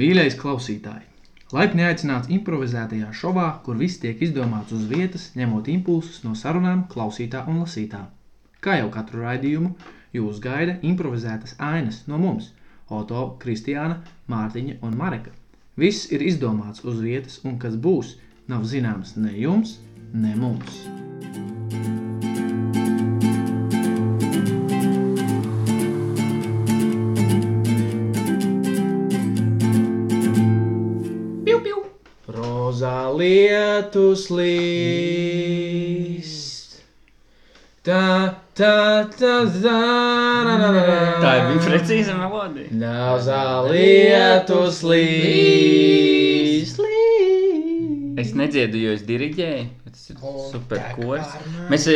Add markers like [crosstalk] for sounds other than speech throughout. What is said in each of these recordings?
Mīļais klausītāj! Laipni aicināts improvizētajā šovā, kur viss tiek izdomāts uz vietas, ņemot impulsus no sarunām, klausītā un lasītā. Kā jau katru raidījumu, jūs gaida improvizētas ainas no mums - Oto, Kristiāna, Mārtiņa un Mareka. Viss ir izdomāts uz vietas, un kas būs, nav zināms ne jums, ne mums. Piu, piu. Rozā lietus līst. Tā, tā, tā, tā, tā, tā, tā. Tā bija precīza nu, melodija. Nav zālietus līst. Es nedziedu, jo es diriģēju. bet Tas ir Un super tā kā kors. pārmaiņas. Mēs e,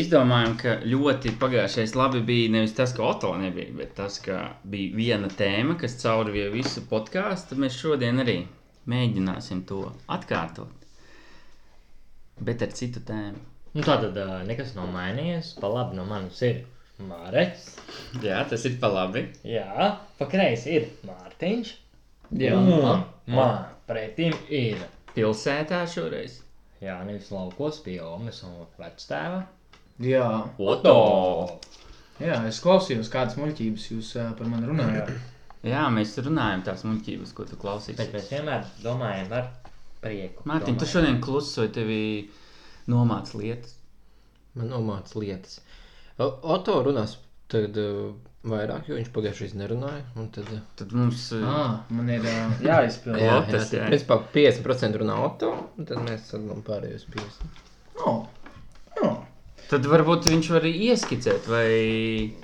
izdomājām, ka ļoti pagājušais labi bija nevis tas, ka Oto nebija, bet tas, ka bija viena tēma, kas caurvīja visu podkāstu. Mēs šodien arī mēģināsim to atkārtot. Bet ar citu tēmu. Nu, tā tad ā, nekas nav mainījies. Pa labi no manis ir Mārcis. Jā, tas ir pa labi. Jā, pa kreisi ir Mārtiņš. Jā. Mm. un man pretim ir. Pilsētā šoreiz. Jā, nevis laukos pie Omas un vectēva. Jā, Oto! jā, es klausījos, kādas muļķības jūs ā, par mani runājat. Jā, mēs runājam tās muļķības, ko tu Bet klausīsies. mēs vienmēr domājam ar prieku. Mārtiņ, tu Domājam. šodien klusoji, tevi nomāc lietas. Man nomāca lietas. O- Oto runās tagad uh, vairāk, jo viņš pagājušajā gadsimtā nerunāja. un Tad, uh, Tad mums eh, ir Ah, man ir ā, jāizpild. Jā. Jā. tas tad principā 50% runā Oto, un tad mēs sadalām pārējos 50%. Oh. Oh. Tad varbūt viņš var arī ieskicēt, vai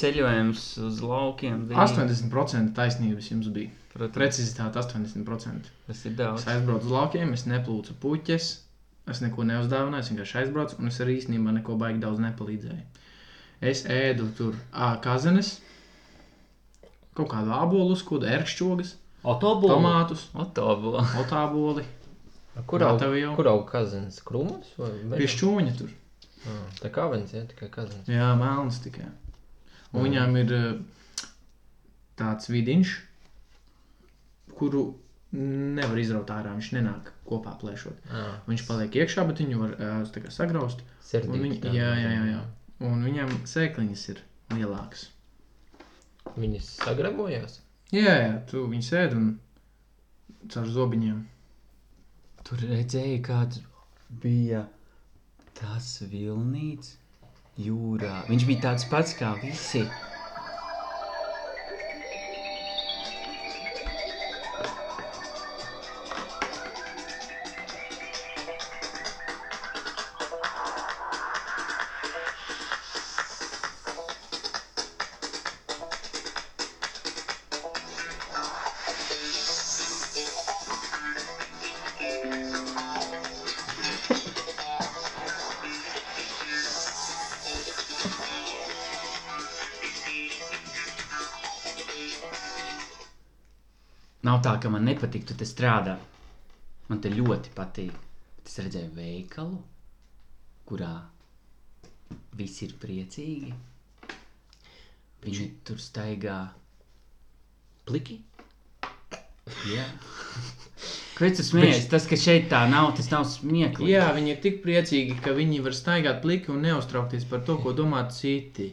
ceļojums uz laukiem bija- 80% taisnības jums bija. Protams, Precizitāte 80%. tas ir daudz. Es aizbraucu uz laukiem, es neplūcu puķes, es neko neuzdāvināju, es vienkārši aizbraucu, un es arī īstenībā neko baigi daudz nepalīdzēju. Es ēdu tur ā, kazenes, kaut kādu ābolu, skūdu, ērkšķogas, Autobūvē. tomātus, Otobo. otāboli, Kur aug- Gatavi jau. kur auga kazins? Krūmos vai pie Beļģijā? šķūņa tur. Ah, Tā kā avens, ja tikai kazins. Jā, melns tikai. Un viņām ir ā, tāds vidiņš, kuru nevar izraut ārā, viņš nenāk kopā plēšot. Ah, Viņš paliek iekšā, bet viņu var ā, tā kā sagraust. Un Sirdīgs. Viņ, tā. jā, jā, jā, jā. Un viņam sēkliņas ir lielākas. Viņas sagrabojās. Jā, jā, tu viņu sēdi un caur zobiņiem. Tur redzēja, kāds bija tas vilnīts jūrā. Viņš bija tāds pats kā visi. Nav tā, ka man nepatīk, tu te strādā. Man te ļoti patīk. Bet Es redzēju veikalu, kurā visi ir priecīgi. Viņi tur staigā pliki. Jā. Kāpēc tu smējies? Tas, ka šeit tā nav, tas nav smieklīgi. Jā, viņi ir tik priecīgi, ka viņi var staigāt pliki un neuztraukties par to, ko domā citi.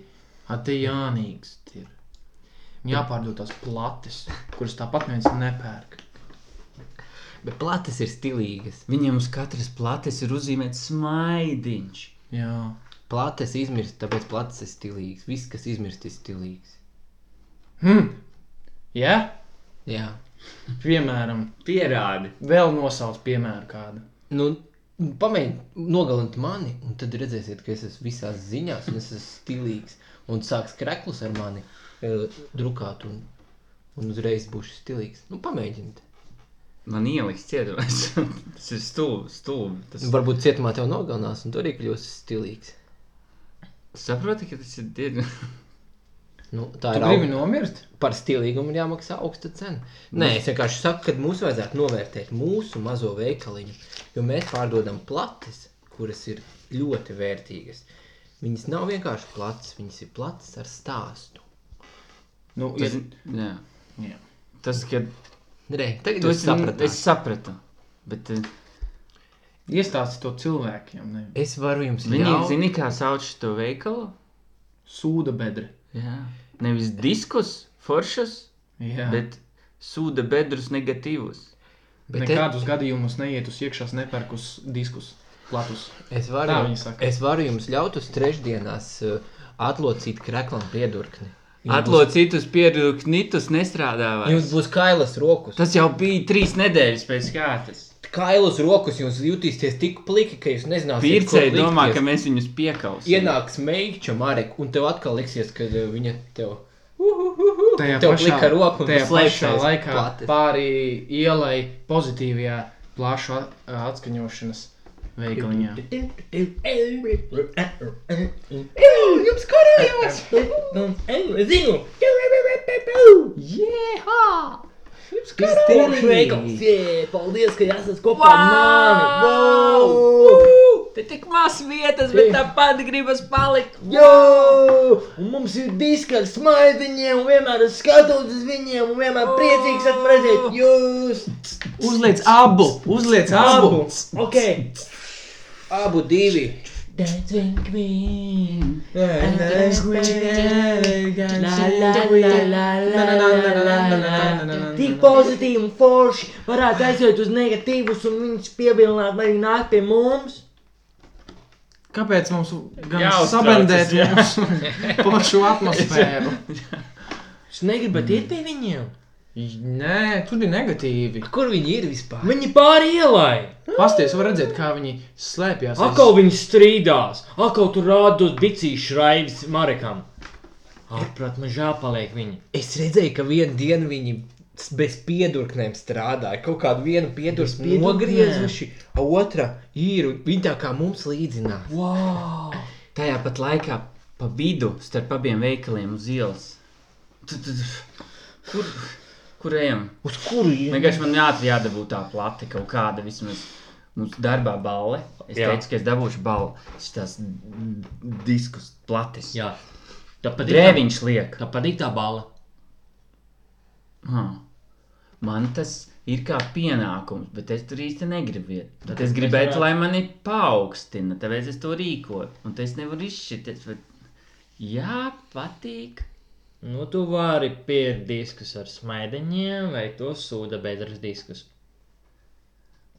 Ate Jānīgs ir. Viņam jāpārdod tās plates, kuras tāpat neviens nepērk. Bet plates ir stilīgas. Viņam uz katras plates ir uzzīmēts smaidiņš. Jā, Plates izmirst, tāpēc plates ir stilīgas. Viss, kas izmirst, ir stilīgs. hm. Jā? Jā. piemēram, Pierādi. vēl nosauc piemēru kādu. Nu, pamēģiniet nogalināt mani, un tad redzēsiet, ka es esmu visās ziņās, un es esmu stilīgs. Un sāks krāklus ar mani e, drukāt, un, un uzreiz būšu stilīgs. Nu, pamēģiniet. Man ieliks cietumā. [laughs] tas ir stulbi. stulbi. Tas... Nu, varbūt cietumā tev nogalinās, un tu arī kļūsi stilīgs. Saproti, ka tas ir diezgan. Nu, tā Tu ir gribi auga. nomirt? Par stilīgumu ir jāmaksā augsta cena. Nē, es vienkārši saku, ka mums vajadzētu novērtēt mūsu mazo veikaliņu, jo mēs pārdodam plates, kuras ir ļoti vērtīgas. Viņas nav vienkārši plates, viņas ir plates ar stāstu. Nu, Tas, ir... jā. Jā. tas, kad Re, tagad Tu es esi- sapratu. Es sapratu. Bet eh, Iestāsti to cilvēkiem, ne? es varu jums viņi ļaut. zina, kā sauc šo veikalu. Sūda bedri. Jā. Nevis diskus, foršus, Jā. Jā. bet sūda bedrus negatīvus. Bet Bet Nekādus te... gadījumus neiet uz iekšā, nepērk uz diskus, platus. Es Tā varu, viņi saka. es varu jums ļaut uz trešdienās uh, atlocīt kreklam piedurkni. Jums Atlocītus pierakstnitus nestrādā būs- vairs. Jums būs kailas rokas. Tas jau bija trīs nedēļas pēc kārtas. Kailas rokas jums jutīsies tik pliki, ka jūs nezināsiet, Pircēji kur domā, likties. ka mēs viņus piekausim. Ienāks meigča Marek, un tev atkal liksies, ka uh, viņa tev Tajā Tev plika roka un tajā tu pašā slēpsies laikā plati. pāri ielai pozitīvajā plašu at- atskaņošanas veikaliņā. Jums karājās! Zinu! Jēhā! Jums Stilīgs veikals! Jē, Paldies, ka esat kopā ar mani! Wow! Te tik maz vietas, bet tāpat gribas palikt. Jau! Un mums ir diski ar smaidiņiem, un vienmēr es skatos uz viņiem, un vienmēr priecīgs esmu redzēt jūs! Uzliec abu! Uzliec abu! Ok! Abu divi! Dancing Queen! Tik pozitīvi un forši varētu aiziet uz negatīvus un viņus pievilināt, lai viņi nāk pie mums. Kāpēc mums gan Jāuztraucas, sabendēt jā. mūsu plašu atmosfēru? Jūs Mm. negribat iet pie viņiem? Nē, tur ir negatīvi. Kur viņi ir vispār? Viņi pāri ielai! Pasties, var redzēt, kā viņi slēpjas. Atkal viņi strīdās, atkal tur rādos bicīs šraivis Marekam. Ārprāt, man žēl paliek viņi. Es redzēju, ka vienu dienu viņi s- bez piedurknēm strādāja. Kaut kādu vienu piedurkni piedurknēm? nogriezuši, a otra ir. un Viņi tā kā mums līdzinās. Wow! Tajā pat laikā pa vidu starp abiem veikaliem uz ielas. Tu, tu, tu. Kur, kur ejam? Uz kuru iet? Vienkārši man ātri jādabū tā plate kaut kāda vismaz. Mums darbā balle. Es Jā. Jā. teicu, ka es dabūšu balvu. Šitās diskus plates. Jā, tā patīk. Drēviņš liek. Tā patīk tā balva. Ah, Man tas ir kā pienākums, bet es tur īsti negribu iet. Tad es gribētu, varētu. lai mani paaugstina, tāpēc es to rīkoju. Un tas nevar izšķirties. Bet... Jā, patīk. Nu, tu vari pērkt diskus ar smaidiņiem vai to sūda bedres diskus.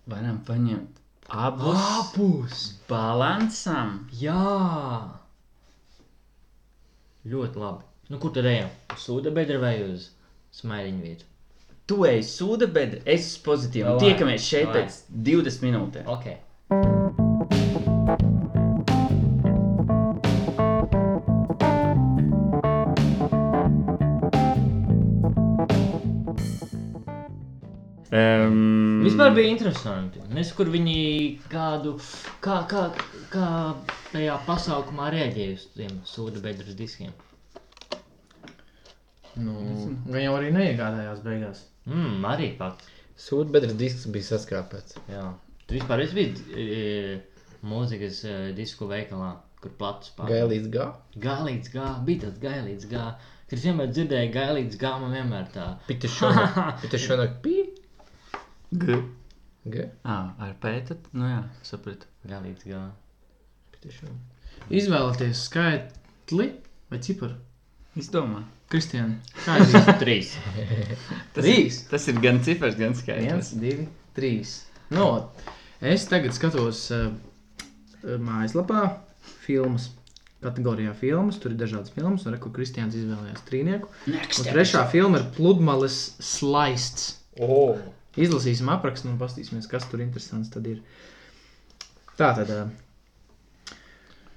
Varam paņemt abus Apus! balansam. Jā! Ļoti labi. Nu, kur tad ejam? Uz Sūda bedra vai uz smaidiņu vietu? Tu ej sūda, bet es esmu pozitīvs. Davai, Tiekamies šeit davai. pēc 20 minūtēm. Ok. Um, Vispār bija interesanti. Nes kur viņi kādu, kā, kā, kā tajā pasākumā reaģēja uz tiem sūdu bedres diskiem. Nu, gan jau arī neiegādājās beigās. Mmm, arī pat. Sūdbedres disks bija saskrāpēts. Jā. Tu vispār esi bijis e, mūzikas e, disku veikalā, kur platus pārdod. Gailīts gā. Gailīts gā, bija tāds gailīts gā. Kad es vienmēr dzirdēju gailīts gā, man vienmēr tā. Pita šonakt. [laughs] Pita šonakt. Pī. G. G. Ah, ar pētat? Nu jā, sapratu. Gailīts gā. Pita šonakt. Izvēlēties skaitli vai ciparu. Izdomā. Kristiāna, kā ir? Trīs. Tas, ir, Trīs. tas ir gan cifers, gan skaitlis. viens, divi, trīs. No, es tagad skatos uh, mājaslapā filmas. Kategorijā filmas, tur ir dažādas filmas, un reku Kristians izvēlējās trīnieku. Un trešā filma ir pludmales slaists. O. Izlasīsim aprakstu un paskatīsimies, kas tur interesants tad ir. Tā tad.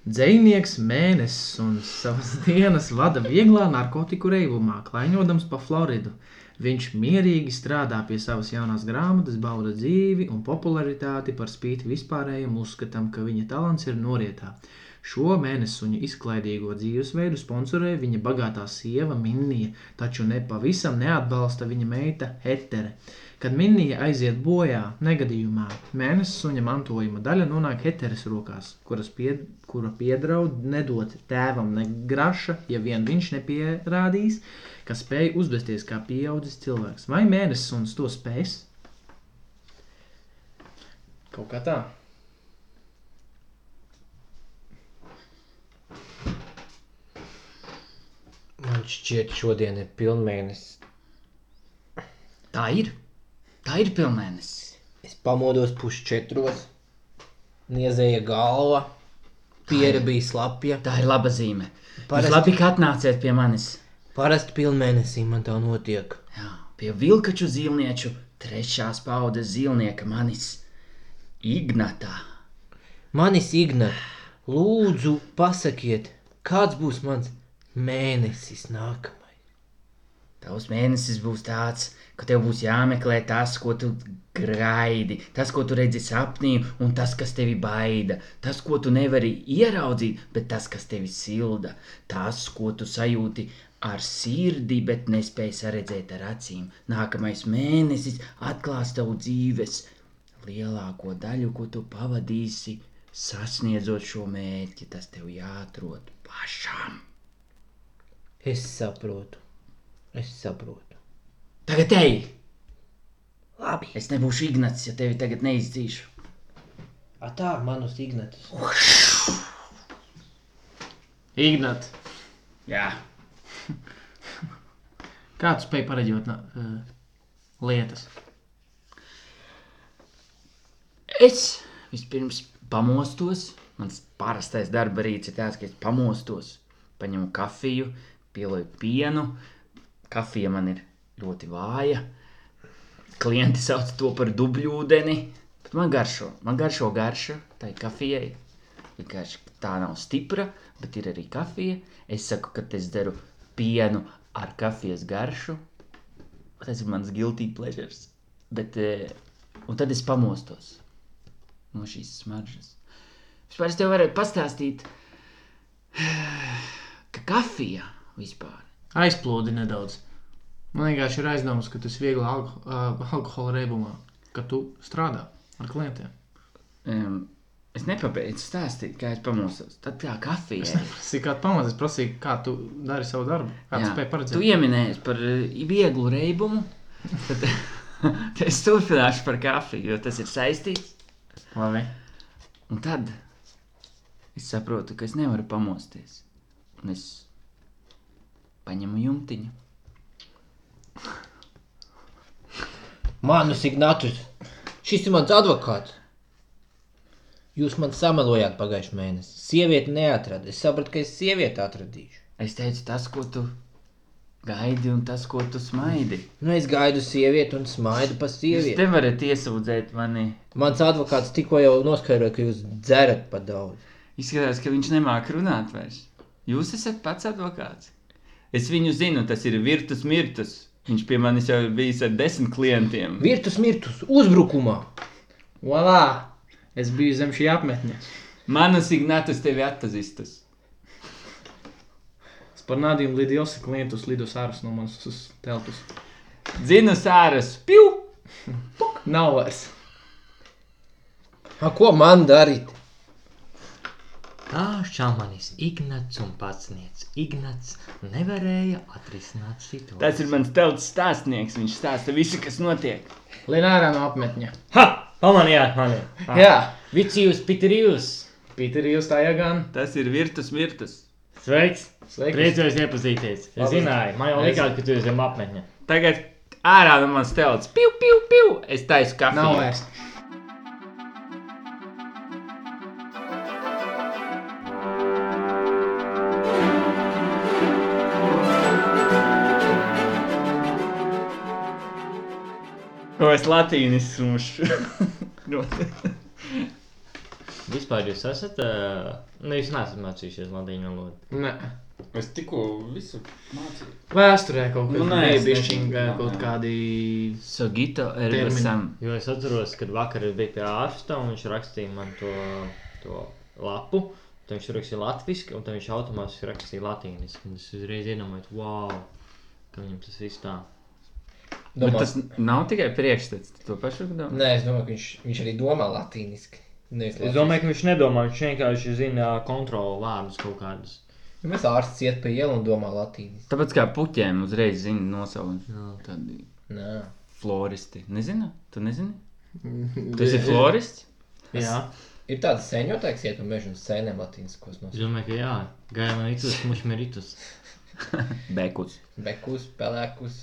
Dzēnieks mēnesis un savas [laughs] dienas vada vieglā narkotiku reibumā, klaiņodams pa Floridu. Viņš mierīgi strādā pie savas jaunās grāmatas, bauda dzīvi un popularitāti par spīti vispārējiem uzskatam, ka viņa talants ir norietā. Šo mēnesuņa izklaidīgo dzīvesveidu sponsorē viņa bagātā sieva Minija, taču ne pavisam neatbalsta viņa meita Hetere. Kad Minija aiziet bojā, negadījumā mēnesuņa mantojuma daļa nonāk Heteres rokās, kuras pied, kura piedraud nedot tēvam ne graša, ja vien viņš nepierādīs, ka spēj uzvesties kā pieaudzis cilvēks. Vai mēnesuns to spēs? Kaut kā tā. Man šķiet, šodien ir pilnmēnesis. Tā ir. Tā ir pilnēnesis. Es pamodos pusčetros, niezēja galva, piera bija slapja. Tā ir laba zīme. Jūs Parasti- labi, ka atnācāt pie manis. Parasti pilnmēnesī man tā notiek. Jā, pie vilkaču zīmnieču, trešās paudzes zīmnieka manis Ignatā. Manis Igna, lūdzu, pasakiet, kāds būs mans mēnesis nākamais? Tavs mēnesis būs tāds, ka tev būs jāmeklē tas, ko tu gaidi, tas, ko tu redzi sapnī, un tas, kas tevi baida. Tas, ko tu nevari ieraudzīt, bet tas, kas tevi silda. Tas, ko tu sajūti ar sirdi, bet nespēj saredzēt ar acīm. Nākamais mēnesis atklās tavu dzīves lielāko daļu, ko tu pavadīsi, sasniedzot šo mērķi. Tas tev jāatrod pašam. Es saprotu, es saprotu. Tagad ej! Labi, Es nebūšu Ignats, ja tevi tagad neizdzīšu. tā manus Ignatus. Ignat, [laughs] Jā, kā tu spēj pareģot uh, eh, lietas? es vispirms pamostos. Mans parastais darba rīts ir tāds, ka es pamostos, paņemu kafiju, pielieku pienu. Kafija man ir ļoti vāja. Klienti sauc to par dubļūdeni. Bet man garšo, man garšo garša tai kafijai. Vienkārši tā nav stipra, bet ir arī kafija. Es saku, ka es daru pienu ar kafijas garšu. Tas ir mans guilty pleasures. Bet, eh, un tad es pamostos no šīs smaržas. Vispār es tev varētu pastāstīt, [sighs] ka kafija vispār. Aizplūdi nedaudz. Man vienkārši ir aizdoms, ka tas ir viegli alko, uh, alkohola reibumā, ka tu strādā ar klientiem. Um, es nepabeidzu stāstīt, kā es pamostos. Tad kā kafija. Tas ir kā pamats, es prasīju, kā tu dari savu darbu, kā tu Jā, spēj Tu paredzēt. pieminēji par eh, vieglu reibumu. Tad, [laughs] tad es turpināšu par kafiju, jo tas ir saistīts. Labi. Un tad es saprotu, ka es nevaru pamosties. Un es paņemu jumtiņu. Manus Ignatus, šis ir mans advokāts. Jūs man samelojāt pagājušajā mēnesī. Sievieti neatrada. Es sapratu, ka es sievieti atradīšu. Es teicu, tas, ko tu gaidi, un tas, ko tu smaidi. Nu, es gaidu sievieti un smaidu pa Jūs sievieti. te varat iesūdzēt mani. Mans advokāts tikko jau noskaidroja, ka jūs dzerat pa daudz. Izskatās, ka viņš nemāķi runāt vairs. Jūs esat pats advokāts. Es viņu zinu, tas ir virtus mirtus. Viņš pie manis jau ir bijis ar desmit klientiem. Virtus mirtus uzbrukumā. Voilà! Es biju zem šī apmetņa. Manas ignatas tevi atpazīstas. Es par nādījumu līdz Josa klientus lidus ārus no manas uz telpas. Zinu sāras, piu! Nav vairs. A, ko man darīt? Tā šāmanis Ignats un patsniedz. Ignats nevarēja atrisināt situāciju. Tas ir mans telts stāstnieks. Viņš stāsta visu, kas notiek. Lienārā no apmetņa. Ha! Pamanījāt mani! Ah. Jā, Vicijus Pitrijus! Pīter, jūs tā jāgan. Tas ir virtus mirtus. Sveiks! Sveiks. Priecājos iepazīties! Es Labi. zināju, man jau likās, ka tu esi zem apmetņa. Tagad ārā no manas telts, piu, piu, piu! Es taisu kafiju. Nav vairs. Ko es latīnis [laughs] smušu? Vispār jūs esat, uh, nu jūs neesat mācījušies latīņu valodu. Nē. Es tikko visu mācīju. Vēsturē kaut Nu, kāda nē, es nebišķīga, nezinu. kaut kādi... Sogito Termini. erbasam. Jo es atceros, kad vakar es biju pie ārsta un viņš rakstīja man to, to lapu. Tad viņš rakstīja latviešu, un tad viņš automātiski rakstīja latīniski. Un Es uzreiz iedomājos, wow, ka viņam tas viss tā. Bet Domā- tas nav tikai priekšstats, tu to pašu domā. Nē, es domāju, ka viņš, viņš arī domā latīniski. Nevis Es domāju, ka viņš nedomā, viņš vienkārši zina kontrolu vārdus kaut kādus. ka mēs ārsts iet pa ielu un domā latīniski. Tāpēc kā puķiem uzreiz zina nosaukumu. Tādi Nē. floristi. Nezinu, tu nezini? Tu esi florists? Jā, Ir tāds senjotājs, iet pa mežu un sēnēm latīniskos es nosaukumus. domāju, ka jā, gājām ar itus, mušam ir itus. Bekus. Bekus, pelēkus,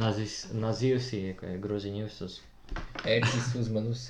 Nazis, nazijusie, kā groziņš jūsus. ērtis uzmanus.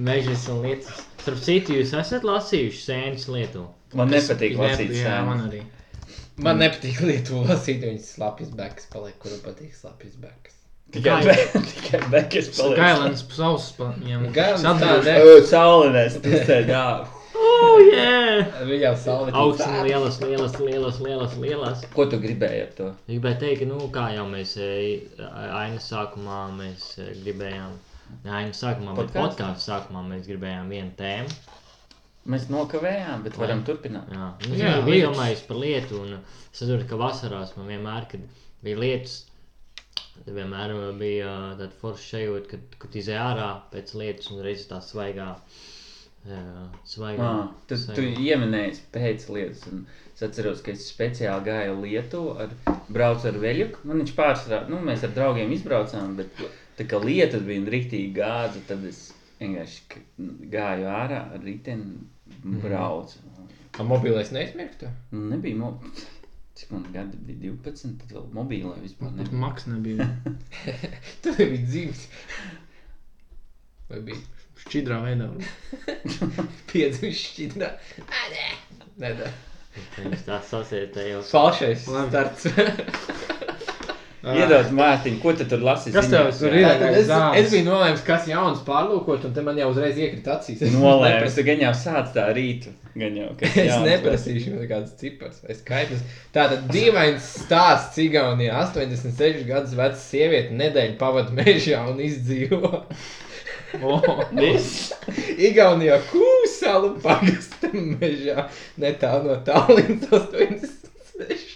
Mežas un lietas. Starp citu, jūs esat lasījuši sēnes lietu. Man nepatīk Jā, lasīt jā, man sēnes. arī. Man nepatīk lietu lasīt, viņas slapjas bekas paliek, kuru patīk slapjas bekas. Tikai Gail- be- tikai bekus paliek. Gailens sauss pa viņam. Gailens Sadrūž. tā, Saulinēs, tas te jā. Oh, yeah! Viņām salvi Augsts un lielas, lielas, lielas, lielas, lielas. Ko tu gribēji ar to? Es gribēju teikt, ka, nu, kā jau mēs e, ainas sākumā mēs e, gribējām, ne ainas sākumā, bet Podkāstā? podkāstu sākumā mēs gribējām vienu tēmu. Mēs nokavējām, bet varam turpināt. Jā, Nu, Jā, jā lietas. bija domājis par lietu, un es saprotu, ka vasarās man vienmēr, kad bija lietas, tad vienmēr bija ā, tāda forša sajūta, kad, kad izēja ārā pēc lietas un reizes tā svaigā. ā, Ā, Svaigā. Ah, Ah. Tu, tu ieminēji pēc lietas, un es atceros, ka es speciāli gāju Lietuvu, ar, braucu ar veļu. Man viņš pārsvarā, nu, mēs ar draugiem izbraucām, bet tā kā lieta bija rīktīgi gāza, tad es vienkārši k- gāju ārā ar riteni Mhm. un braucu. Kā mobilais neizmirktu? Nu, nebija mo... [laughs] Cik man gadi bija 12, tad vēl mobilā vispār Pat nebija. maks nebija. [laughs] Tu biji dzīves. Vai bija Šķidrā veidā. piedzimis šķidrā? Nē, nē. Viņš [laughs] tā sasietējās. Falšais Labi. starts. Iedod Mārtiņu, ko tu tur lasi? Kas tev ziņās, tur jā? ir? Tātad [laughs] es, Dāmas. es biju nolēmis, kas jauns pārlūkot, un te man jau uzreiz iekrita acīs. Es Nolēmis, tu gan jau sāc tā rītu. Gan jau, ka [laughs] Es jauns neprasīšu nekādas cipras vai skaitļus. Tātad dīvains stāsts Cigaunijā. 86 gadus veca sieviete nedēļu pavadīja mežā un izdzīvo. [laughs] [laughs] Viss? Igaunijā kūsalu pagastā mežā netālu no Tallinas 86.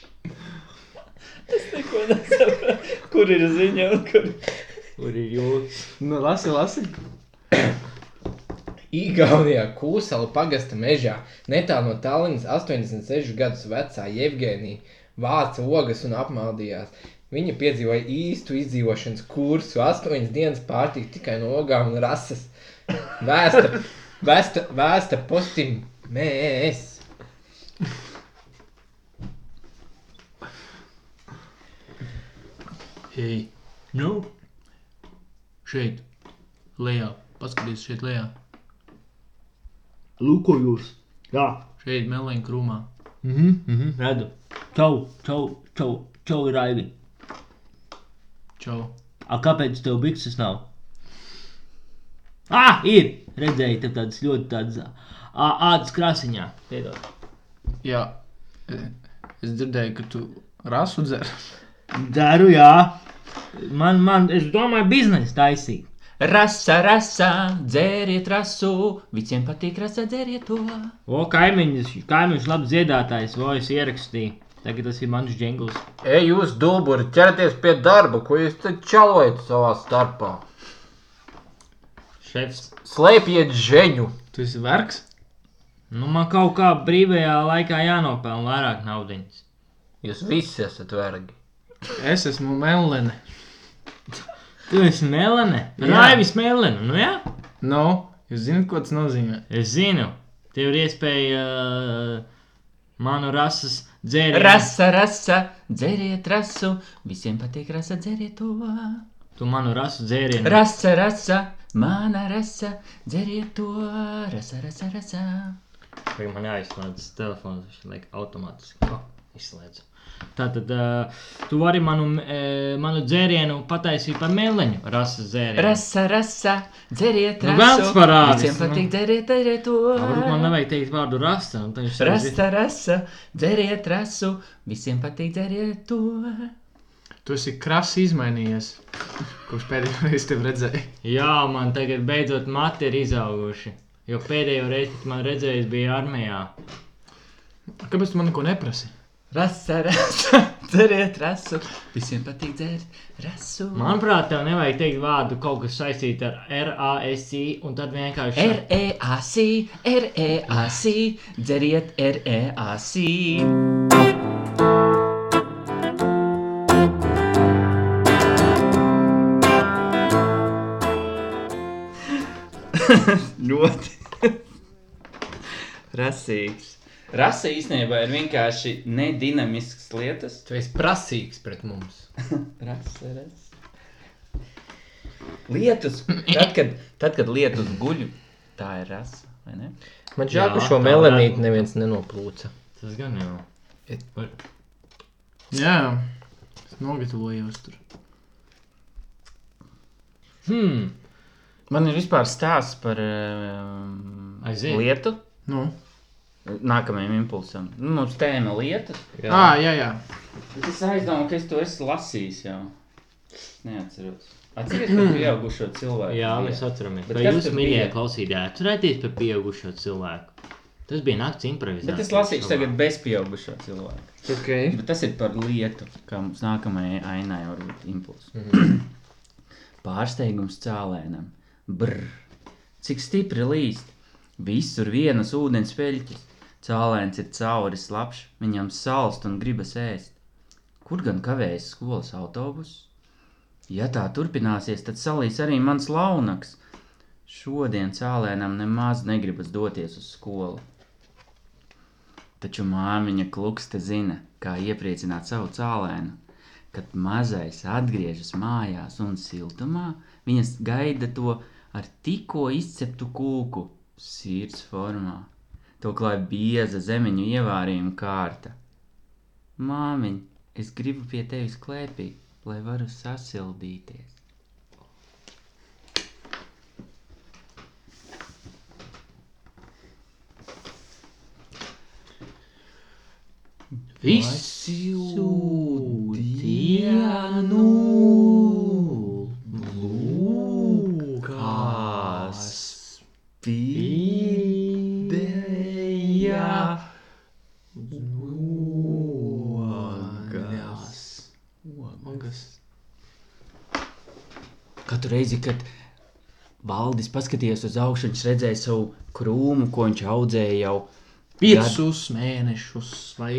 Neko nesaprotu. Kur ir ziņa un kur? Kur ir jūtas? Nu, lasi, lasi. Igaunijā kūsalu pagastā mežā netālu no Tallinas 86 gadus vecā Jevgenija vāca ogas un apmaldījās. Viņa piedzīvoja īstu izdzīvošanas kursu, astoņas dienas pārtika tikai no ogām un rases. Vēsta, vēsta, vēsta postim, mēs. Hei, nu, šeit, lejā, paskaties šeit lejā. Lūkojos. Jā, Šeit, melnīgi krūmā. mhm, mhm, redzu. Čau, čau, čau, čau, Raivi. Čau. A kāpēc tev bikses nav? Ah, ir! Redzēju, tev tādas ļoti tādas ādas krāsiņā. Piedod. Jā, e, es dzirdēju, ka tu rasu dzer. Daru, jā. Man, man, es domāju, biznesa taisīt. Rasa, rasa, dzēriet rasu, visiem patīk rasa, dzēriet to. O, kaimiņš, kaimiņš, labs dziedātājs, o, es ierakstīju. Tagad tas ir mans jingls. Ej, jūs duburi, ķerieties pie darba, ko jūs te čalojat savā starpā. Šefs. Slēpiet žēņu. Tu esi vergs? Nu, man kaut kā brīvajā laikā jānopelna vairāk naudas. Jūs visi esat vergi. Es esmu melnene. Tu esi melnē, Jā. Raivis melnē, nu jā? Nu, jūs zināt, ko tas nozīmē? Es zinu, tev ir iespēja uh, manu rases dzērienu. Rasa, rasa, dzēriet rasu, visiem patīk rasa, dzēriet to. Tu manu rasu dzērienu. Rasa, rasa, mana rasa, dzēriet to. Rasa, rasa, rasa. Tagad man jāizslēdz telefons, viņš liek automātiski. Oh, izslēdz. Tātad uh, tu vari manu, uh, manu dzērienu pataisīt par meleņu, rases dzērienu. Rasa, rasa, dzēriet Nu, rasu. velns parādis, Visiem nu. patīk dzēriet, dzēriet to. Varbūt man nevajag teikt vārdu rasta. un tad viņš saka, Rasta, rasa, dzēriet rasu, visiem patīk dzēriet to. Tu esi krasi izmainījies, kurš pēdējo reizi tevi redzēja. Jā, man tagad beidzot mati ir izauguši. Jo pēdējo reizi, kad man redzējis, bija armijā. Kāpēc tu man neko neprasi? Rasa, rasa, [laughs] dzeriet rasu. Visiem patīk dzert rasu. Manuprāt, tev nevajag teikt vārdu kaut kas saistīts ar RASI, un tad vienkārši R-E-A-C, R-E-A-C, dzeriet R-E-A-C. [laughs] Ļoti [laughs] rasīgs. Rasa īstenībā ir vienkārši nedinamisks lietas. Tu esi prasīgs pret mums. Rasa, rasa. [laughs] Lietus. Tad, kad, tad, kad lietus guļ, tā ir rasa, vai ne? Man Jā, žēl, ka šo tā varētu melanītu būt. neviens nenoplūca. tas gan jau. Vai- Jā, es nogatavojos tur. Hmm. Man ir vispār stāsts par um, eh, Aiziet. lietu. Nu, Nākamajam impulsam. Nu, Mums tēma lietas. jā, à, jā. jā. Bet Es aizdomāju, ka es to esmu lasījis jau. Es neatceros. Atceries [clears throat] par pieaugušo cilvēku. Jā, bija? mēs atceramies. Bet Vai kas jūs, tur mīļie bija? klausītāji, atcerieties par pieaugušo cilvēku? Tas bija nakts improvizācija. Bet es lasīšu tagad bez pieaugušo cilvēku. Okay. Bet tas ir par lietu. Kā mums nākamajai ainai var būt impulss. [clears throat] Pārsteigums cēlēnam. Brr! Cik stipri līst! Visur vienas ūdens peļķis. Cēlēns ir cauri slapjš, viņam salst un gribas ēst. Kur gan kavējas skolas autobuss? Ja tā turpināsies, tad salīs arī mans launaks. Šodien cēlēnam nemaz negribas doties uz skolu. Taču māmiņa klukste zina, kā iepriecināt savu cēlēnu. Kad mazais atgriežas mājās un siltumā, viņas gaida to ar tikko izceptu kūku sirds formā. To klāja bieza zemeņu ievārījuma kārta. Māmiņ, es gribu pie tevis klēpī, lai varu sasildīties. Visu dienu lūkās spīdēja ogas. Katru reizi, kad Valdis paskatījās uz augšu, viņš redzēja savu krūmu, ko viņš audzēja jau Piecus mēnešus, lai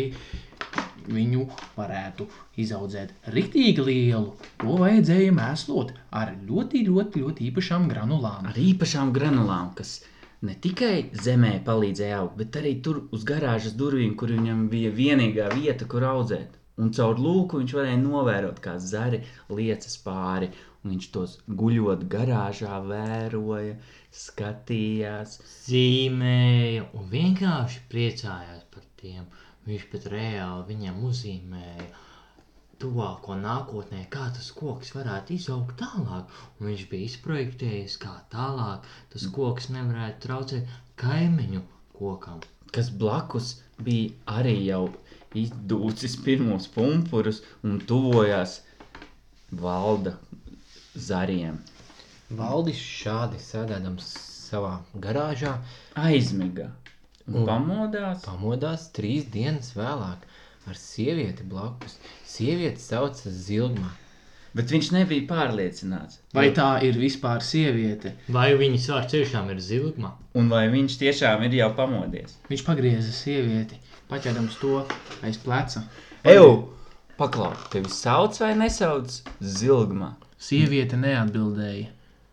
viņu varētu izaudzēt rītīgi lielu, to vajadzēja mēslot ar ļoti, ļoti, ļoti īpašām granulām. ar īpašām granulām, kas ne tikai zemē palīdzēja augt, bet arī tur uz garāžas durvīm, kur viņam bija vienīgā vieta, kur audzēt. Un caur lūku viņš varēja novērot, kā zari liecas pāri. Un viņš tos guļot garāžā, vēroja, skatījās. zīmēja un vienkārši priecājās par tiem. Viņš pat reāli viņiem uzzīmēja tuvāko nākotnē, kā tas koks varētu izaugt tālāk. Un viņš bija izprojektējis, kā tālāk tas koks nevarētu traucēt kaimiņu kokam. kas blakus bija arī jau izdūcis pirmos pumpurus un tuvojās valda zariem. Valdis šādi sēdēdams savā garāžā Aizmiga un Un- pamodās. pamodās trīs dienas vēlāk ar sievieti blakus. Sieviete sauca Zilma. Bet viņš nebija pārliecināts. Vai tā ir vispār sieviete? Vai viņas vārds tiešām ir zilgma? Un vai viņš tiešām ir jau pamodies? Viņš pagrieza sievieti, paķēdams to aiz pleca. Eju! Paklaus, tevi sauc vai nesauc zilgma? Sieviete neatbildēja.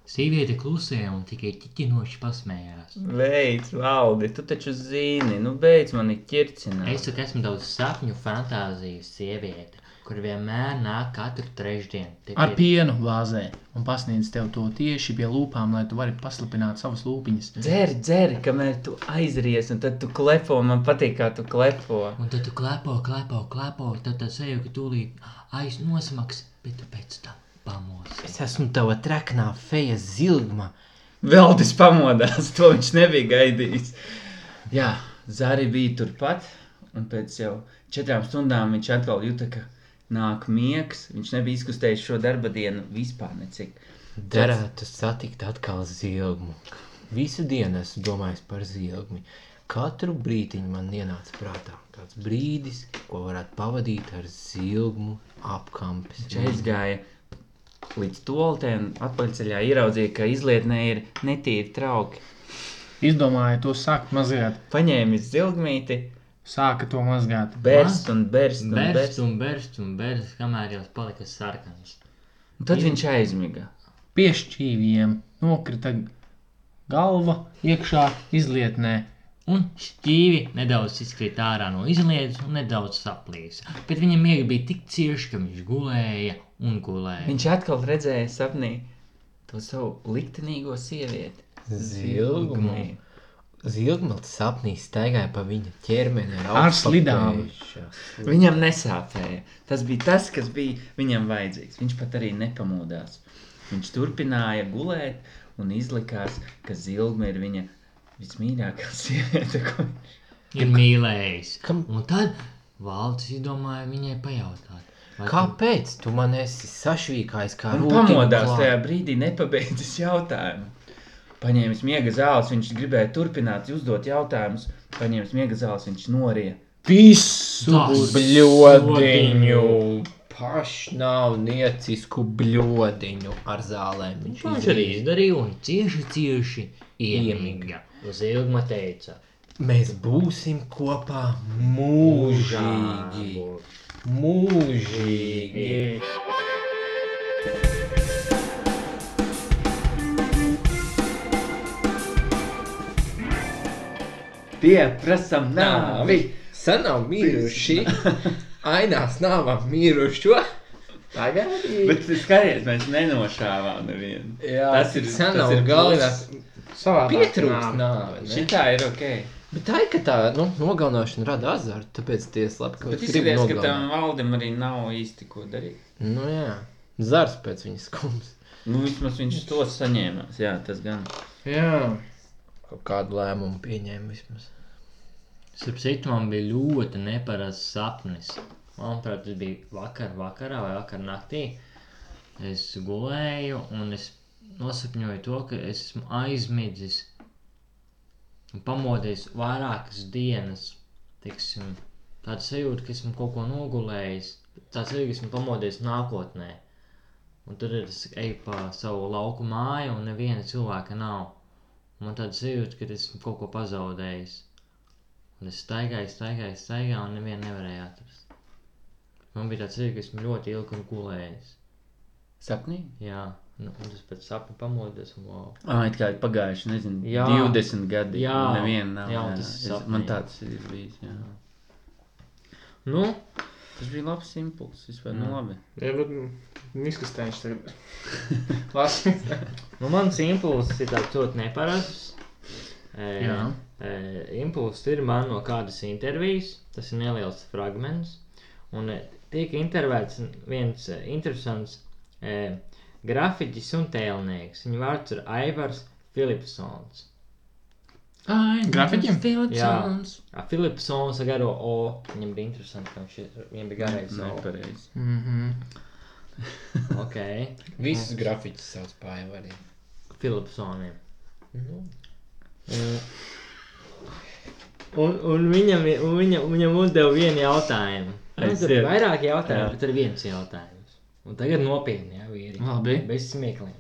Sīviete klusēja un tikai ķitinoši pasmējās. Beidz, valdi, tu taču zini, nu beidz mani ķircināt. Es saku, esmu daudz sapņu fantāzijas sieviete, kur vienmēr nāk katru trešdienu. Te Ar ir- pienu vāzē un pasniedz tev to tieši pie lūpām, lai tu vari paslapināt savas lūpiņas. Dzer, dzer, kamēr tu aizies, un tad tu klepo, man patīk, kā tu klepo. Un tad tu klepo, klepo, klepo, tad tas eju, ka tūlīt aiz nosmaks, bet tu pēc tam pamosies. Es esmu tava traknā feja Zilma. Veldis pamodās, to viņš nebija gaidījis. Jā, Zari bija turpat, un pēc jau četrām stundām viņš atkal jūta, ka nāk miegs. Viņš nebija izkustējis šo darba dienu vispār necik. Derētu satikt atkal Zilmu. Visu dienu esmu domājis par zilgni. Katru brīdiņu man ienāca prātā kāds brīdis, ko varētu pavadīt ar zilgmu apkampes. Viņš aizgāja līdz toltēm, atpakaļceļā ieraudzīja, ka izlietnē ir netīri trauki. Izdomāja to sākt mazgāt. Paņēma zilgmīti, Sāka to mazgāt. bērst un bērst un Bērst bērst. un bērst un bērst, kamēr jau palika sarkans. Un tad viņš aizmiga. Piešķīviem nokrita galva iekšā izlietnē. Un šķīvi nedaudz izkrita ārā no izlietas un nedaudz saplīsa. Bet viņam miega bija tik cieši, ka viņš gulēja un gulēja. Viņš atkal redzēja sapnī to savu liktenīgo sievieti. Zilgmu. Zilgmats sapnī staigāja pa viņa ķermeni Ar slidām. augstpapējušas. Viņam nesāpēja. Tas bija tas, kas bija viņam vajadzīgs. Viņš pat arī nepamodās. Viņš turpināja gulēt un izlikās, ka zilga ir viņa vismīļākā [laughs] sieviete. ko- ir mīlējis. Kam- Un tad valsts izdomāja viņai pajautāt. vai tu- Kāpēc tu man esi sašvīkājis kā Un rūtiņu pamodās klāt? tajā brīdī, nepabeidzis jautājumu. Paņēmis miega zāles, viņš gribēja turpināt uzdot jautājumus. Paņēmis miega zāles, viņš norija. Visu Tas bļodiņu! Pašnāvniecisku bļodiņu ar zālēm. Viņš, To Viņš izdarīja. arī izdarīja un cieši, cieši iemīga. Iemiga. Uz ilguma teica, Mēs būsim kopā mūžīgi. Mūžīgi. Pieprasām nāvi! Sanāk, [laughs] miruši. Ainās nāvā mirušo. Tagad Bet skaties, mēs nenošāvām nevienu. Jā, tas ir- tas senāk ir galvenā. Savā Pietrūkst nāve. ne? Šitā ir ok. Bet tā ir, ka tā nu, nogalināšana rada azartu, tāpēc tiesa labi, ka Bet viņš grib izskatās, ka tam nogalināt. valdam arī nav īsti ko darīt. Nu jā, zars pēc viņas skums. Nu, vismaz viņš to saņēma. Jā, tas gan. Jā, Kaut kādu lēmumu pieņēma vismaz. starp citu, man bija ļoti neparasts sapnis. Manuprāt, tas bija vakar, vakarā vai vakar naktī. Es gulēju un es nosapņoju to, ka es esmu aizmidzis un pamodies vairākas dienas. Tiksim, tāda sajūta, ka esmu kaut ko nogulējis. Tā sajūta, ka esmu pamodies nākotnē. Un tad es eju pa savu lauku māju, un neviena cilvēka nav. Man tāda sajūta, ka esmu kaut ko pazaudējis. Un es staigāju, staigāju, staigāju, un nevienu nevarēju atrast. Man bija tāds sajūta, ka esmu ļoti ilgi un gulējis. Sapnī? Jā, nu, un tas pēc sapņa pamodies, un wow. Ah, it kā ir pagājuši, nezinu, jā. Jā. 20 gadi. Jā. neviena nav. Jā, un tas ir Es- sapnī. man tāds ir bijis. Jā. Nu, Tas bija labs impulss, vispār mm. nu, labi. jā bet miskastēns [laughs] tagad. Lasi. nu mans impulss ir tāds ļoti neparasts. E, Jā. E, impulss ir man no kādas intervijas, tas ir neliels fragments. Un e, tiek intervētas viens e, interesants e, grafiķis un tēlnieks. Viņa vārds ir Aivars Filipsons. Grafiķiem? Filipsons. Jā, Filipsons ar garo O. Viņam bija interesanti, ka viņš ir- viņam bija garais O. Nav Nu, pareizi. Mhm. Ok, Visus grafikus sauc par aivāriem. Filipsoniem. Nu, Eh, Un, un viņam, ir- un viņam, viņam uzdeva vienu jautājumu. Nu, tur Aiziet. bija vairāki jautājumi, Jā. bet tur bija viens jautājums. Un tagad nopietni, jā, vīri. Labi. Bez smiekliem.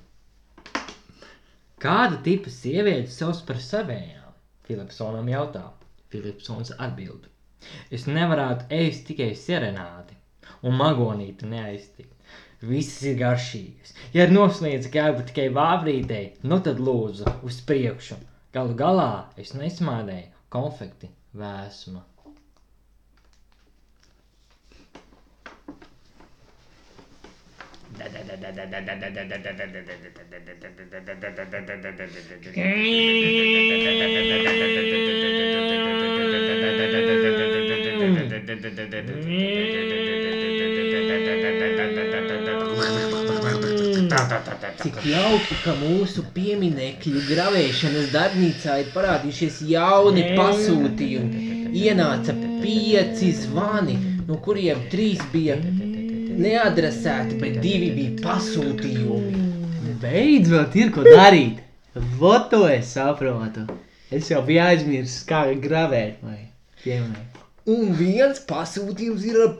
Kāda tipa sieviete savs par savējām? Filipsonam jautā. Filipsons atbild. Es nevarētu ēst tikai serenādi, un magonīti neaiztikt. Visas ir garšīgas. Ja ir noslēdzis gāba tikai vāvrītei, nu tad lūdzu uz priekšu. Galu galā es nesmādēju konfekti vēsma. Cik jauki, ka mūsu pieminiektu gravēšanas darbnīcā ir parādījušies jauni pasūtījumi. Ienāca pieci zvani, no kuriem trīs bija neadresēti, bet divi bija pasūtījumi. Beidz vēl ir ko darīt. Vot to es saprotu. Es jau biju aizmirsis, kā gravēt vai piemēram. Un viens pasūtījums ir ar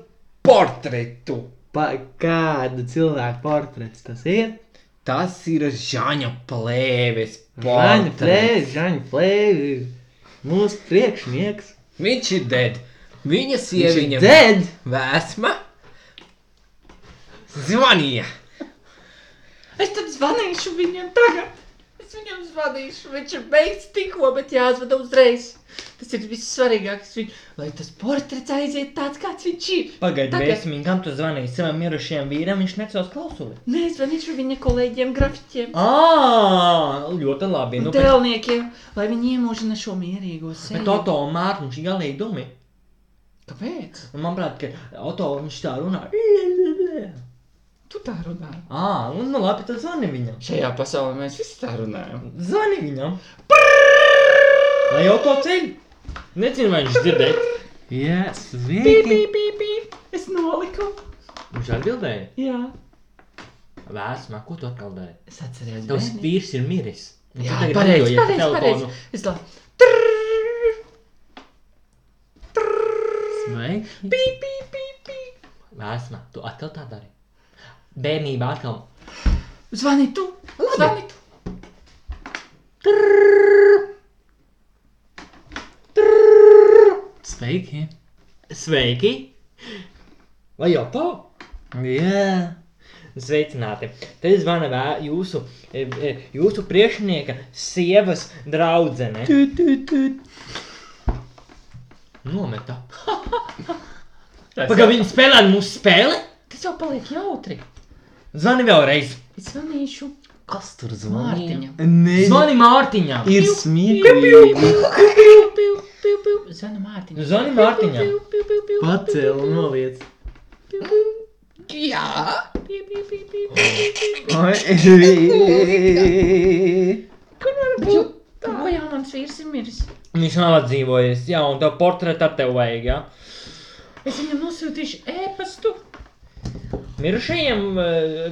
portretu. Pa, kādu cilvēku portrets tas ir? Tas ir Žaņa plēves Žaņa portrets. plēvis, Žaņa plēvis. Mūsu priekšnieks. Viņš ir dead. Viņa Viņš ir sieviņa dead! Vēsma zvanīja. Es tam zvanīšu viņam tagad. Es viņam zvanīšu. Viņš ir beidzis tikko, bet jāzvada uzreiz. Tas ir vissvarīgākais. Viņ... Lai tas portrets aiziet tāds, kāds viņš ir. Pagaidiet, Tagad- vēsmiņ, kam tu zvanīji savam mirušajam vīram, viņš necels klausuli. Nē, es zvanīšu viņa kolēģiem, grafiķiem. Ā, ļoti labi. Nu, Nu, bet, Tēlniekiem, lai viņi iemūžina šo mierīgo sēdi. bet Oto un Mārta, viņš ir galīgi dumi. Kāpēc? Un manuprāt, ka Oto viņš tā runā. Tu tā runā. Ā, un nu labi, tad zvani viņam. Šajā pasaulē mēs visi tā runājam. Zvani viņam. Lai Oto ceļ. Nezinu, vai viņš dzirdēja. Jā, Pīp, sveiki! pīp, pīp, pīp. Es noliku. Viņš atbildēja. Jā, Vēsmā, ko tu atkal dari? es atceros. Tavs vīrs ir miris. Un tu Jā, tagad pareizi, lidojies ar pareizi, telefonu. pareizi. Es tā, Sveiki! pī, pī, pī, pī. Vēsmā, tu atkal tā dari. Bērnībā atkal. Zvani tu, zvani tu. Sveiki! Sveiki! Vai jau to? Jā! Sveicināti! Te zvana vē, jūsu, e, e, jūsu priekšnieka sievas draudzene. Nometa. Pagaidām, viņi spēlē ar mūsu spēli? Tas jau paliek jautri. Zvani vēlreiz! Es zvanīšu Kas tur Mārtiņam. Nezinu, Zvani Mārtiņam! ir smieklīgi! Zvanu Mārtiņam. Nu, Zvani Mārtiņam! Pacēl un noliec! Oh. Oi, O, jā, mans vīrs ir miris. Viņš nav atdzīvojies, jā, un tev portretu ar tev vajag, jā. Es viņam nosūtīšu e-pastu. Mirušajam e,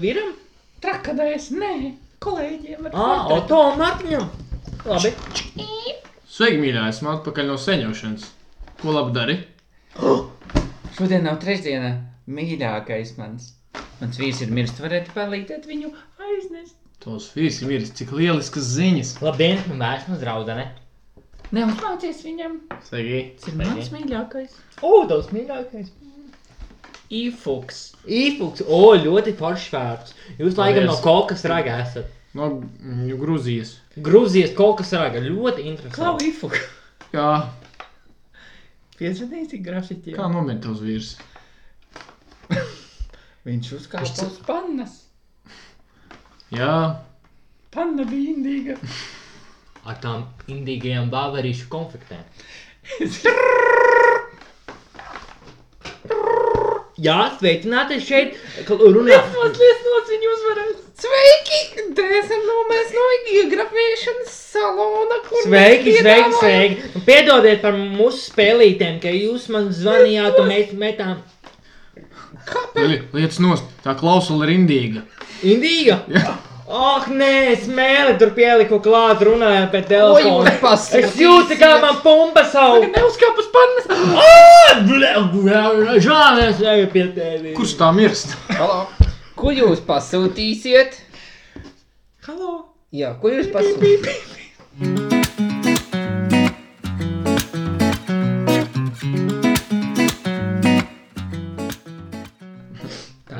vīram? Trakadēs, nē, kolēģiem. ar Ā, portretu. Oto Mārtiņam! Labi. Sveiki, mīļā, esmu atpakaļ no seņošanas. Ko labi dari? Šodien nav trešdiena. Mīļākais mans. Mans vīrs ir miris. Tu varētu palīdzēt viņu aiznest. Tos vīrs ir miris, cik lieliskas ziņas. Labdien, vēsmas draudzene. Neuzmācies viņam. Sveiki! Tas ir mans mīļākais. O, tavs mīļākais. Īfuks. Īfuks, o, ļoti foršs vārds. Jūs laikam no Paldies. Kolkas raga esat. No mm, Grūzijas. Grūzijas Kolkas raga, ļoti Klau, interesanti. īfuks. Jā, Piezvanīsi grafikiem. kā nomet tavs vīrs? Viņš uzkāpa uz pannas. Jā, Panna bija indīga. [laughs] Ar tām indīgajām bāverīšu konfliktēm. Jā, sveicināti šeit, ka runā. Mazliet nos viņu uzvarēs. Sveiki! Dēsim no mēs no iografēšanas salona, kur Sveiki, sveiki, sveiki. Nu, Piedodiet par mūsu spēlītēm, ka jūs man zvanījāt un mēs metām. li lietas nost. Tā klausula ir indīga. Indīga? Jā. Ah, nē, smēli tur pieliku klāt, runājot pēc telefona. Es jūtu, kā man pumpa savu. Neuzkāp uz pannas. Žāli, es eju pie tevis. Kurš tā mirst? Ko jūs pasūtīsiet? Halo? Jā, ko jūs pasūtīsiet?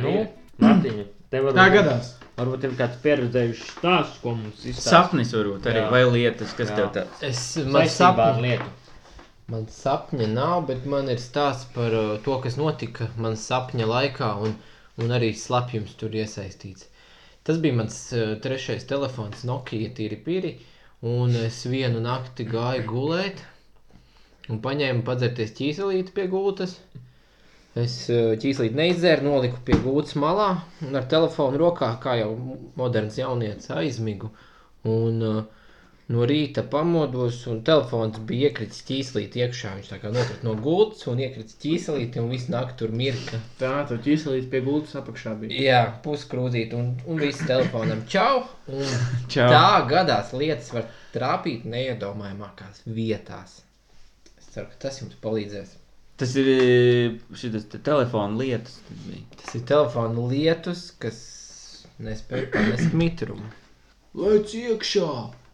Nu, Mārtiņa, tev Tā gadās. Varbūt ir kāds pieredzējušs stāsts, ko mums izsaka. Sapnis varbūt arī, Jā. vai lietas, kas Jā. tev tāds. Es man Saistībā ar sapņu. lietu. Man sapņa nav, bet man ir stāsts par uh, to, kas notika man sapņa laikā, un, un arī slapjums tur iesaistīts. Tas bija mans uh, trešais telefons, Nokia tīri pīri, un es vienu nakti gāju gulēt, un paņēmu padzerties ķīzelīti pie gultas. Es uh, ķīzelīti neizdzēru, noliku pie gultas malā, un ar telefonu rokā, kā jau moderns jaunietis, aizmigu. Un, uh, No rīta pamodos, un telefons bija iekritis ķīslīt iekšā. Viņš tā kā nokrita no gultas un iekritis ķīslīt, un viss naktī tur mirka. Tā, tu ķīselīts pie gultas apakšā bija. Jā, puskrūzīt, un, un viss telefonam čau. Un tā gadās lietas var trāpīt neiedomājamākās vietās. Es ceru, ka tas jums palīdzēs. Tas ir šis telefona lietas. tas bija. Tas ir telefona lietus, kas nespēja panest mitrumu. Lec iekšā,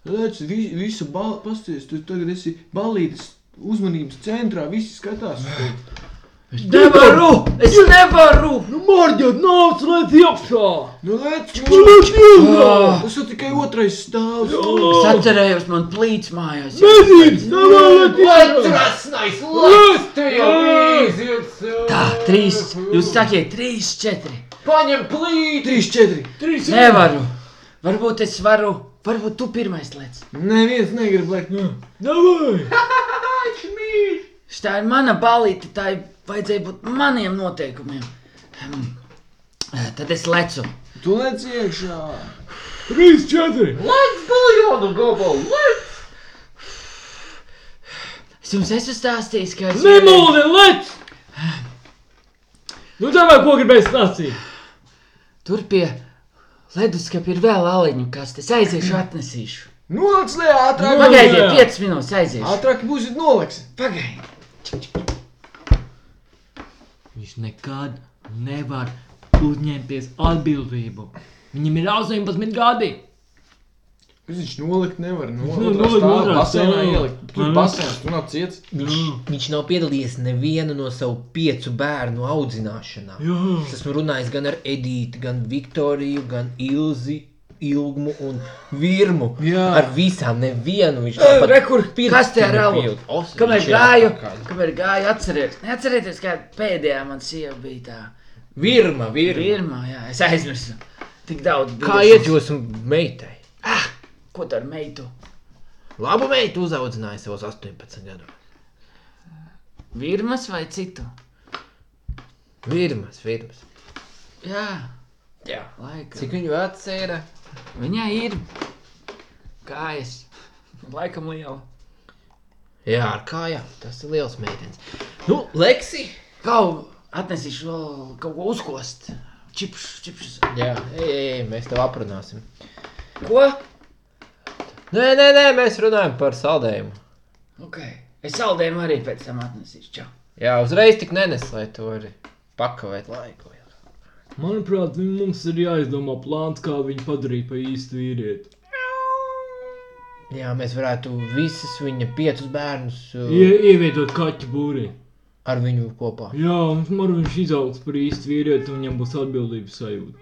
lec vi, visu bal, pasties, tu tagad esi balītas uzmanības centrā, visi skatās. Nevaru! Es nevaru! Nu, morģot, nāc, lec iekšā! Nu lec, nu lec iekšā! Tas ir tikai otrais stāvs. Oh. Es atcerējos, man plīts mājās. Nezinu, nevajag lec iekšā! Krasnais lietus! Tu jau iziet! Tā, trīs. Jūs sakiet, trīs, četri. Paņem plīt! Trīs, četri. Trīs, Nevaru. Varbūt es varu. Varbūt tu pirmais lec. Neviens negrib lec. Nu. Šitā ir mana balīte, tā ir vajadzēja būt maniem noteikumiem. Hmm. Tad es lecu. Tu lec iekšā. Es jums esmu stāstījis, ka es Nemūli, lec! Nu, davai, ko gribēji stāstīt? tur pie leduskapa ir vēl aliņu kastes. Es aiziešu, atnesīšu. Nu lec lec ātrāk. Pagaidiet, 5 minūtes aiziešu. Ātrāk būsit noleks. Pagaidiet. Viņš nekad nevar uzņemties atbildību. Viņam ir 18 gadi. Kas viņš nolikt nevar? No, otrā nevar Nu, nolikt, stāvā otrā basēnā stāvā. ielikt. Tur Mhm. basēns, tu nav ciets. Nu. Viņš nav piedalījies nevienu no savu piecu bērnu audzināšanā. Jā. Es esmu runājis gan ar Edītu, gan Viktoriju, gan Ilzi. Ilgumu un virmu. Jā. Ar visām nevienu viņš tāpat Rekur, kas te ir pirkstiņu aliņu? pilda. Os, Kamēr viņš ir gāju, atpakaļ. kamēr gāju, atcerieties, neatcerieties, kā pēdējā man sieva bija tā. Virma, virma. Pirmā, jā, es aizmirsu. Tik daudz bija. Kā iet jūs meitai? Ko tu ar meitu? Labu meitu uzaudzināja savos 18 gados. Virmas vai citu? Virmas, virmas. Jā, Jā. laikam. Cik viņu atcēla? Viņai ir kājas. Laikam liela. Jā, ar kājām. Tas ir liels meitenes. Nu, Leksi! Kaut atnesīšu vēl kaut ko uzkost. Čipš, čipš. Jā, ej, ej, ej, mēs tev aprunāsim. Ko? Nē, nē, nē, mēs runājam par saldējumu. Ok. Es saldējumu arī pēc tam atnesīšu. Čau. Jā, uzreiz tik nenes, lai tu vari pakavēt laiku. Manuprāt, vi- mums ir jāizdomā plāns, kā viņu padarīt par īstu vīrieti. Jā, mēs varētu visus viņa piecus bērnus uh, Ie, ievietot kaķu būrī. ar viņu kopā. Jā, un man viņš izaugs par īstu vīrieti, un viņam būs atbildības sajūta.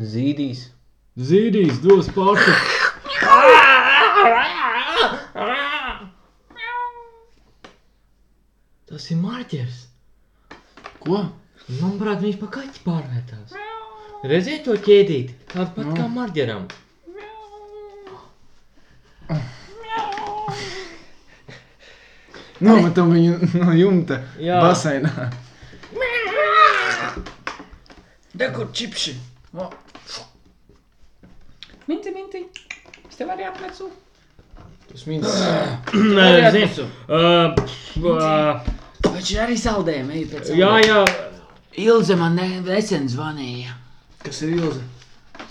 Zīdīs. Zīdīs dos pārtiku. Tas ir marķers. Ko? Manuprāt, viņš pa kaķi pārvērtās. Redziet to ķēdīti, tāds pat kā marķeram. Nometam viņu no jumta Jā. basēnā. Rekur, čipši. O, Minti, minti. Es tev arī atnesu. Tas mīns. [clears throat] Nē, arī zinu. atnesu. Uh, uh, Vai šī arī saldējumu ej pēc tam? jā, jā. Ilze man ne, nesen zvanīja. Kas ir ilze?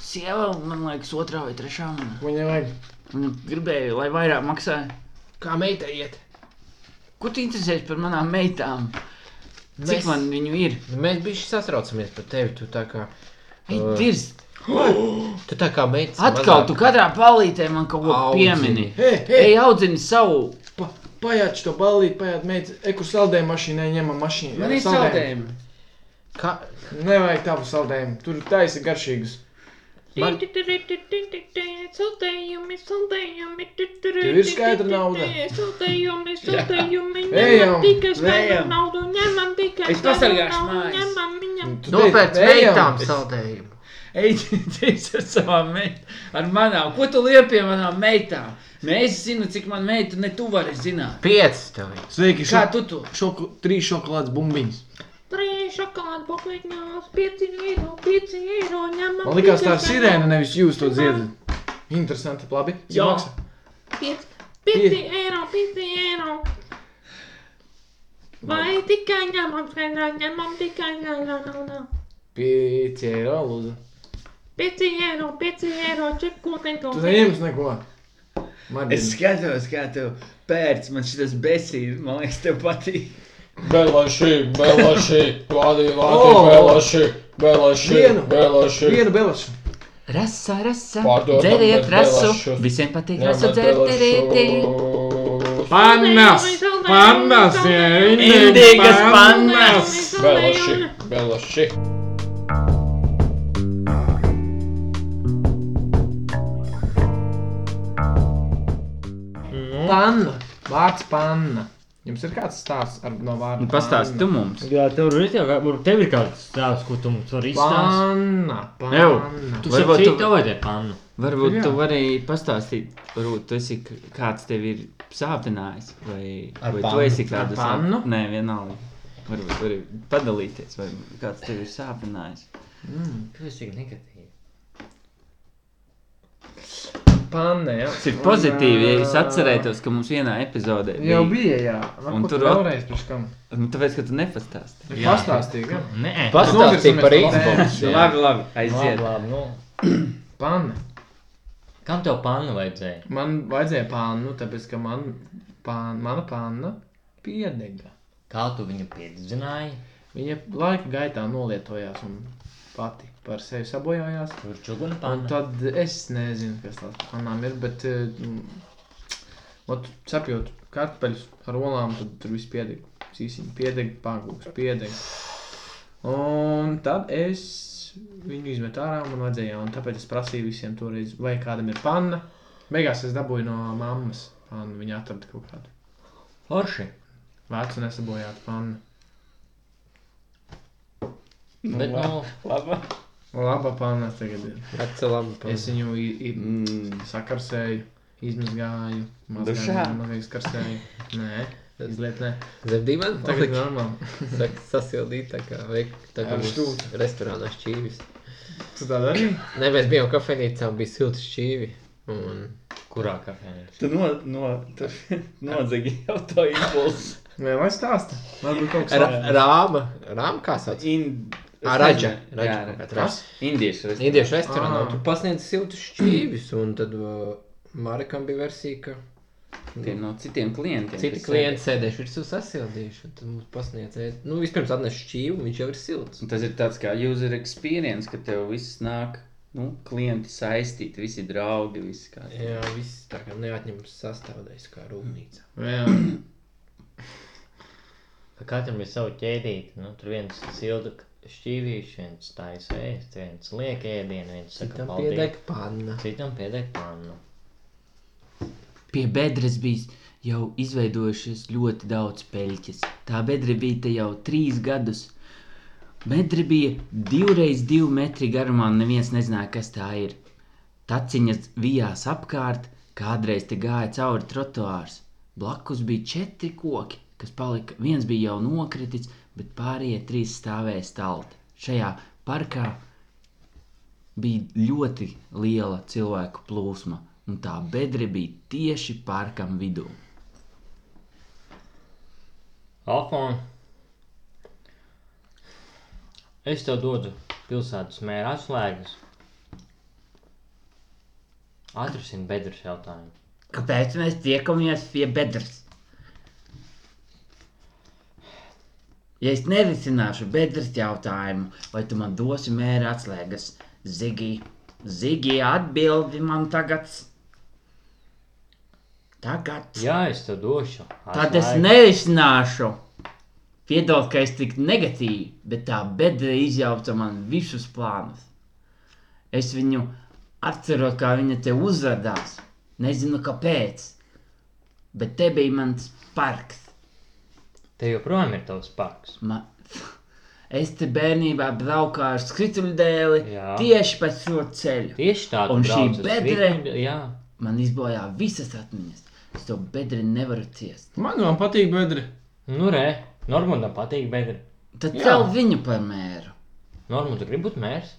Sieva, man liekas, otrā vai trešā. Un, Ko viņai vajag? un gribēju, lai vairāk maksāja. Kā meitai iet? Ko tu interesējies par manām meitām? Cik Mēs- Mēs... man viņu ir? Nu, Mēs bijuši satraucamies par tevi. Tu tā kā, uh, Viņa dirst. tu tā kā meitas. Atkal tu katrā palītē man kaut ko Audzini. piemini. Hei, hei! Ej, audzini savu. Pa, pajāč to ballīti, pajāč meitas. Eku saldējumu mašīnai ņemam mašīnu. Man ir saldējumi. Kā? Nevajag tavu saldējumu. Tur taisi garšīgus. Man- Saldējumi, saldējumi. Tev ir skaidra nauda? Saldējumi, saldējumi. Ejam, Ņemam tikai skaidru ejam. naudu. Ņemam tikai Es pasargāšu mājas. Ņemam viņam. Tu Nopērc teici, ejam. meitām saldējumu. [laughs] Eidzīties ar savām meitām, ar manām. Ko tu liepi ar manām meitām? Mēs zinām, cik man meita, ne tu vari zināt. Pieci tev. ir. Sveiki, šo, Kā tu to? šoku, trīs šokolādes bumbiņas. Trīs šokolādu buklītņos. Pieci eiro, pieci eiro. Ņemam Man likās tā tikai ir skaidru sirēna, nevis jūs to dzirdat. Interesanti, labi. Cik Jā. maksā? Piec- Pieci eiro, pieci eiro. Vai tikai ņemam, ņemam, ņemam tikai ņemam. Pieci eiro, lūdzu. Pieci eiro, pieci eiro, čipkūtiņ to. Tu neņems neko. Man Es skatos, kā tu pērc, man šis besīs, man liekas, tev patīk. Belaši, belaši, vādi, vādi, O! belaši, belaši, Vienu. belaši. Vienu belašu. Rasa, rasa. Pārdodam Dzeriet bez rasu. belašus. Visiem patīk Ņemam rasu dzert. terētī. belašus. Pannas! Pannas! Indīgas pannas! Belaši, belaši. Panna! Vārds panna. Jums ir kāds stāsts ar, no Nu, vārda? Un Nu, pastāsti tu mums. Jā, tev ir jau kāds, tev ir kāds stāsts, ko tu mums vari izstāstīt. Panna! Jau. Panna! Tu Varbūt saproti, tu- tev vajadzēja pannu. Varbūt Jā. tu vari pastāstīt, varbūt tu esi k- kāds tev ir sāpinājis, vai, Ar vai tu pannu. esi kādu Ar pannu? sāp- Nē, vienalga. Varbūt tu vari padalīties, vai kāds tev ir sāpinājis. Tu esi tik negatīvi. Panna, jā. Tas ir Un, pozitīvi, ja es ā, atcerētos, ka mums vienā epizodē bija. Jau bija, jā. Ar Un ko tu tur at- vēlreiz priekš kam? Nu, tāpēc, ka tu nepastāsti. Es pastāstīju, jā. Nē, nu- Pastāstīja par Novirzamies no Xbox. Nu, jā. labi, labi, labi, aiziet. labi, nu. Panna. Kam tev pannu vajadzēja? Man vajadzēja pannu, tāpēc, ka man, pan, mana panna piedega. Kā tu viņu piedzināji? Viņa laika gaitā nolietojās un pati par sevi sabojājās. Tur čuguna Un panna. tad es nezinu, kas tās panām ir, bet, eh, nu, ot, cepjot kartupeļus ar olām, tad tur viss piedeg. Sīsiņi piedeg, pagūks piedeg. Un tad es viņu izmetu ārā, man vajadzēja, un tāpēc es prasīju visiem toreiz, vai kādam ir panna. Beigās es dabūju no mammas pannu, viņa atrada kaut kādu Forši. vecu nesabojātu pannu. Bet, nu, Labā panna tagad ir. Atcelām pa. Es viņu i- i- Mm. sakarsēju, izmazgāju, Dušā? mazgāju, sakarsēju. Nē, izliet, nē. Zem divām? Tagad ir normāli. Saka, sasildīt, tā kā veik, tā kā Ar mums šķūti. restorānā šķīvis. Tu tā dari? Nē, mēs bijām kafejnīcā, un bija silti šķīvi. Un kurā kafejnī? Tu no, no, tu [laughs] nodzegi jau to impulsu. Nē, lai stāsta. Varbūt kaut kas ra tāds. rāma, rāma kā sauc? Ind... Ā, Raja. Raja Jā, kaut kā Raja. Indiešu restorāns. Indiešu restorānā, Ā. un tur pasniedz siltus šķīvis, un tad uh, Marikam bija versija, ka Tie no citiem klientiem. Citi kas klienti sēdējuši virsū sasildījuši, un tad mums pasniedzēja, nu, vispirms atnes šķīvu, un viņš jau ir silts. Un tas ir tāds kā user experience, ka tev viss nāk, nu, klienti saistīti, visi draugi, visi kā. Jā, viss tā kā neatņemams sastāvdaļas kā rūpnīca. Jā. Ka katram ir savu ķēdīti. Nu, tur viens silda šķīvīši, viens taisa ēst, viens liek ēdienu, viens saka, Citam paldies. piedeg panna. Citam piedeg pannu. Pie bedres bija jau izveidojušies ļoti daudz peļķes. Tā bedre bija te jau trīs gadus. Bedre bija divreiz divi metri garumā, un neviens nezināja, kas tā ir. Taciņas vijās apkārt, kādreiz te gāja cauri trotuārs. Blakus bija četri koki, kas palika. Viens bija jau nokritis, bet pārējie trīs stāvēja stalti. Šajā parkā bija ļoti liela cilvēku plūsma, un tā bedre bija tieši parkam vidū. Afon. Es tev dodu pilsētas mēra atslēgas. Atrasim bedres jautājumu. Kāpēc mēs tiekamies pie bedres? Ja es nerisināšu bedres jautājumu, vai tu man dosi mēra atslēgas, Zigi, Zigi, atbildi man tagad. Tagad. Jā, es tev došu. Tad es atslēgas. neizsnāšu. Piedod, ka es tik negatīvi, bet tā bedra izjauca man visus plānus. Es viņu atceros, kā viņa te uzvedās. Nezinu, kāpēc. Bet te bija mans parks. Tev joprojām ir tavs parks. Ma... [laughs] Es te bērnībā braucu ar skrituļdēli Jā. tieši pa šo ceļu. Tieši tā, tu Un šī brauc uz bedre- Rīgu, Jā, Man izbojā visas atmiņas. Es to bedri nevaru ciest. Man jau patīk bedri. nu re, Normundam patīk bedre. Tad Jā. cel viņu par mēru. Normund, tu gribi būt mērs?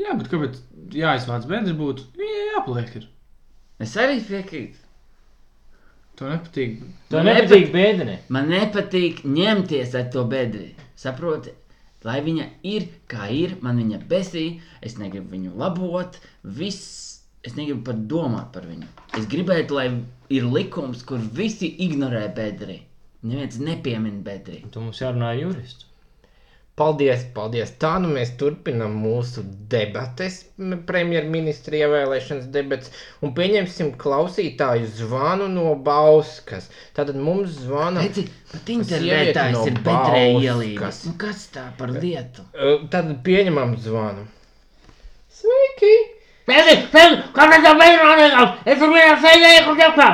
Jā, bet kāpēc jāizvāc bedri būtu? Jā, jāpaliek ir. Es arī piekrītu. To nepatīk. Tev Nu, nepatīk bēdini. Man nepatīk ņemties ar to bedri. Saproti, lai viņa ir kā ir, man viņa besī, es negribu viņu labot, viss, es negribu pat domāt par viņu. Es gribētu, lai ir likums, kur visi ignorē bedri. Neviens nepiemin bedri. Tu mums jārunā ar juristu. Paldies, paldies. Tā nu mēs turpinām mūsu debates, m, premjerministra ievēlēšanas debates, un pieņemsim klausītāju zvanu no Bauskas. Tātad mums zvana. Redzi, pat internetā es no ir bedrē Bauskas. ielīgas. Nu, kas tā par lietu? Uh, Tad pieņemam zvanu. Sveiki! Pēdējais, pēdējais, kāpēc tev beidzot nenotiek? Es tur vienā sēdēju, kur ķepā.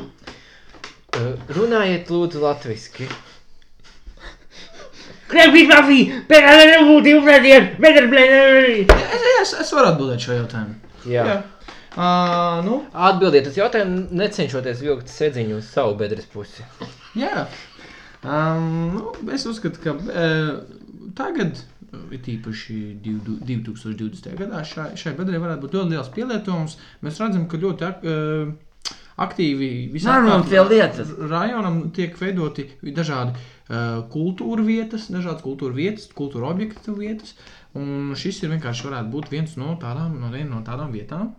Uh, Runājiet, lūdzu, latviešu. Krepī, krepī, pēdējais nebūtu jūtēties, er bet ir blēdēji. Es, es, es varu atbildēt šo jautājumu. Jā. Jā. Uh, nu, Atbildiet uz jautājumu, necenšoties vilkt sēdziņu uz savu bedres pusi. jā. Um, nu, es uzskatu, ka uh, tagad, uh, it īpaši divdu- 2020. gadā, šai, šai bedrē varētu būt ļoti liels pielietojums. Mēs redzam, ka ļoti ak, uh, aktīvi visā Nārunājam pie lietas. rajonam tiek veidoti dažādi uh, kultūra vietas, dažādas kultūra vietas, kultūra objektu vietas. Un šis ir vienkārši varētu būt viens no tādām, no viena no tādām vietām,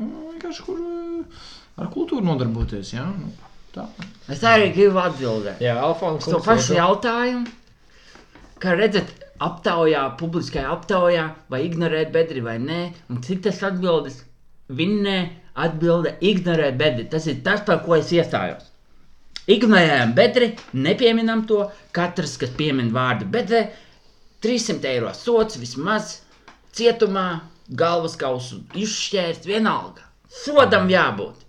un vienkārši, kur uh, ar kultūru nodarboties. Ja? Nu, tā. Es arī gribu atbildēt. Jā, Alfons, Uz to pašu jautājumu, kā redzat, aptaujā, publiskajā aptaujā, vai ignorēt bedri vai nē, un cik tas atbildes vinnē, atbilde ignorēt bedri. Tas ir tas, par ko es iestājos. Ignorējam bedri, nepieminam to. Katrs, kas piemin vārdu bedri, 300 eiro sots vismaz cietumā, galvas kausu izšķērst, vienalga. Sodam jābūt.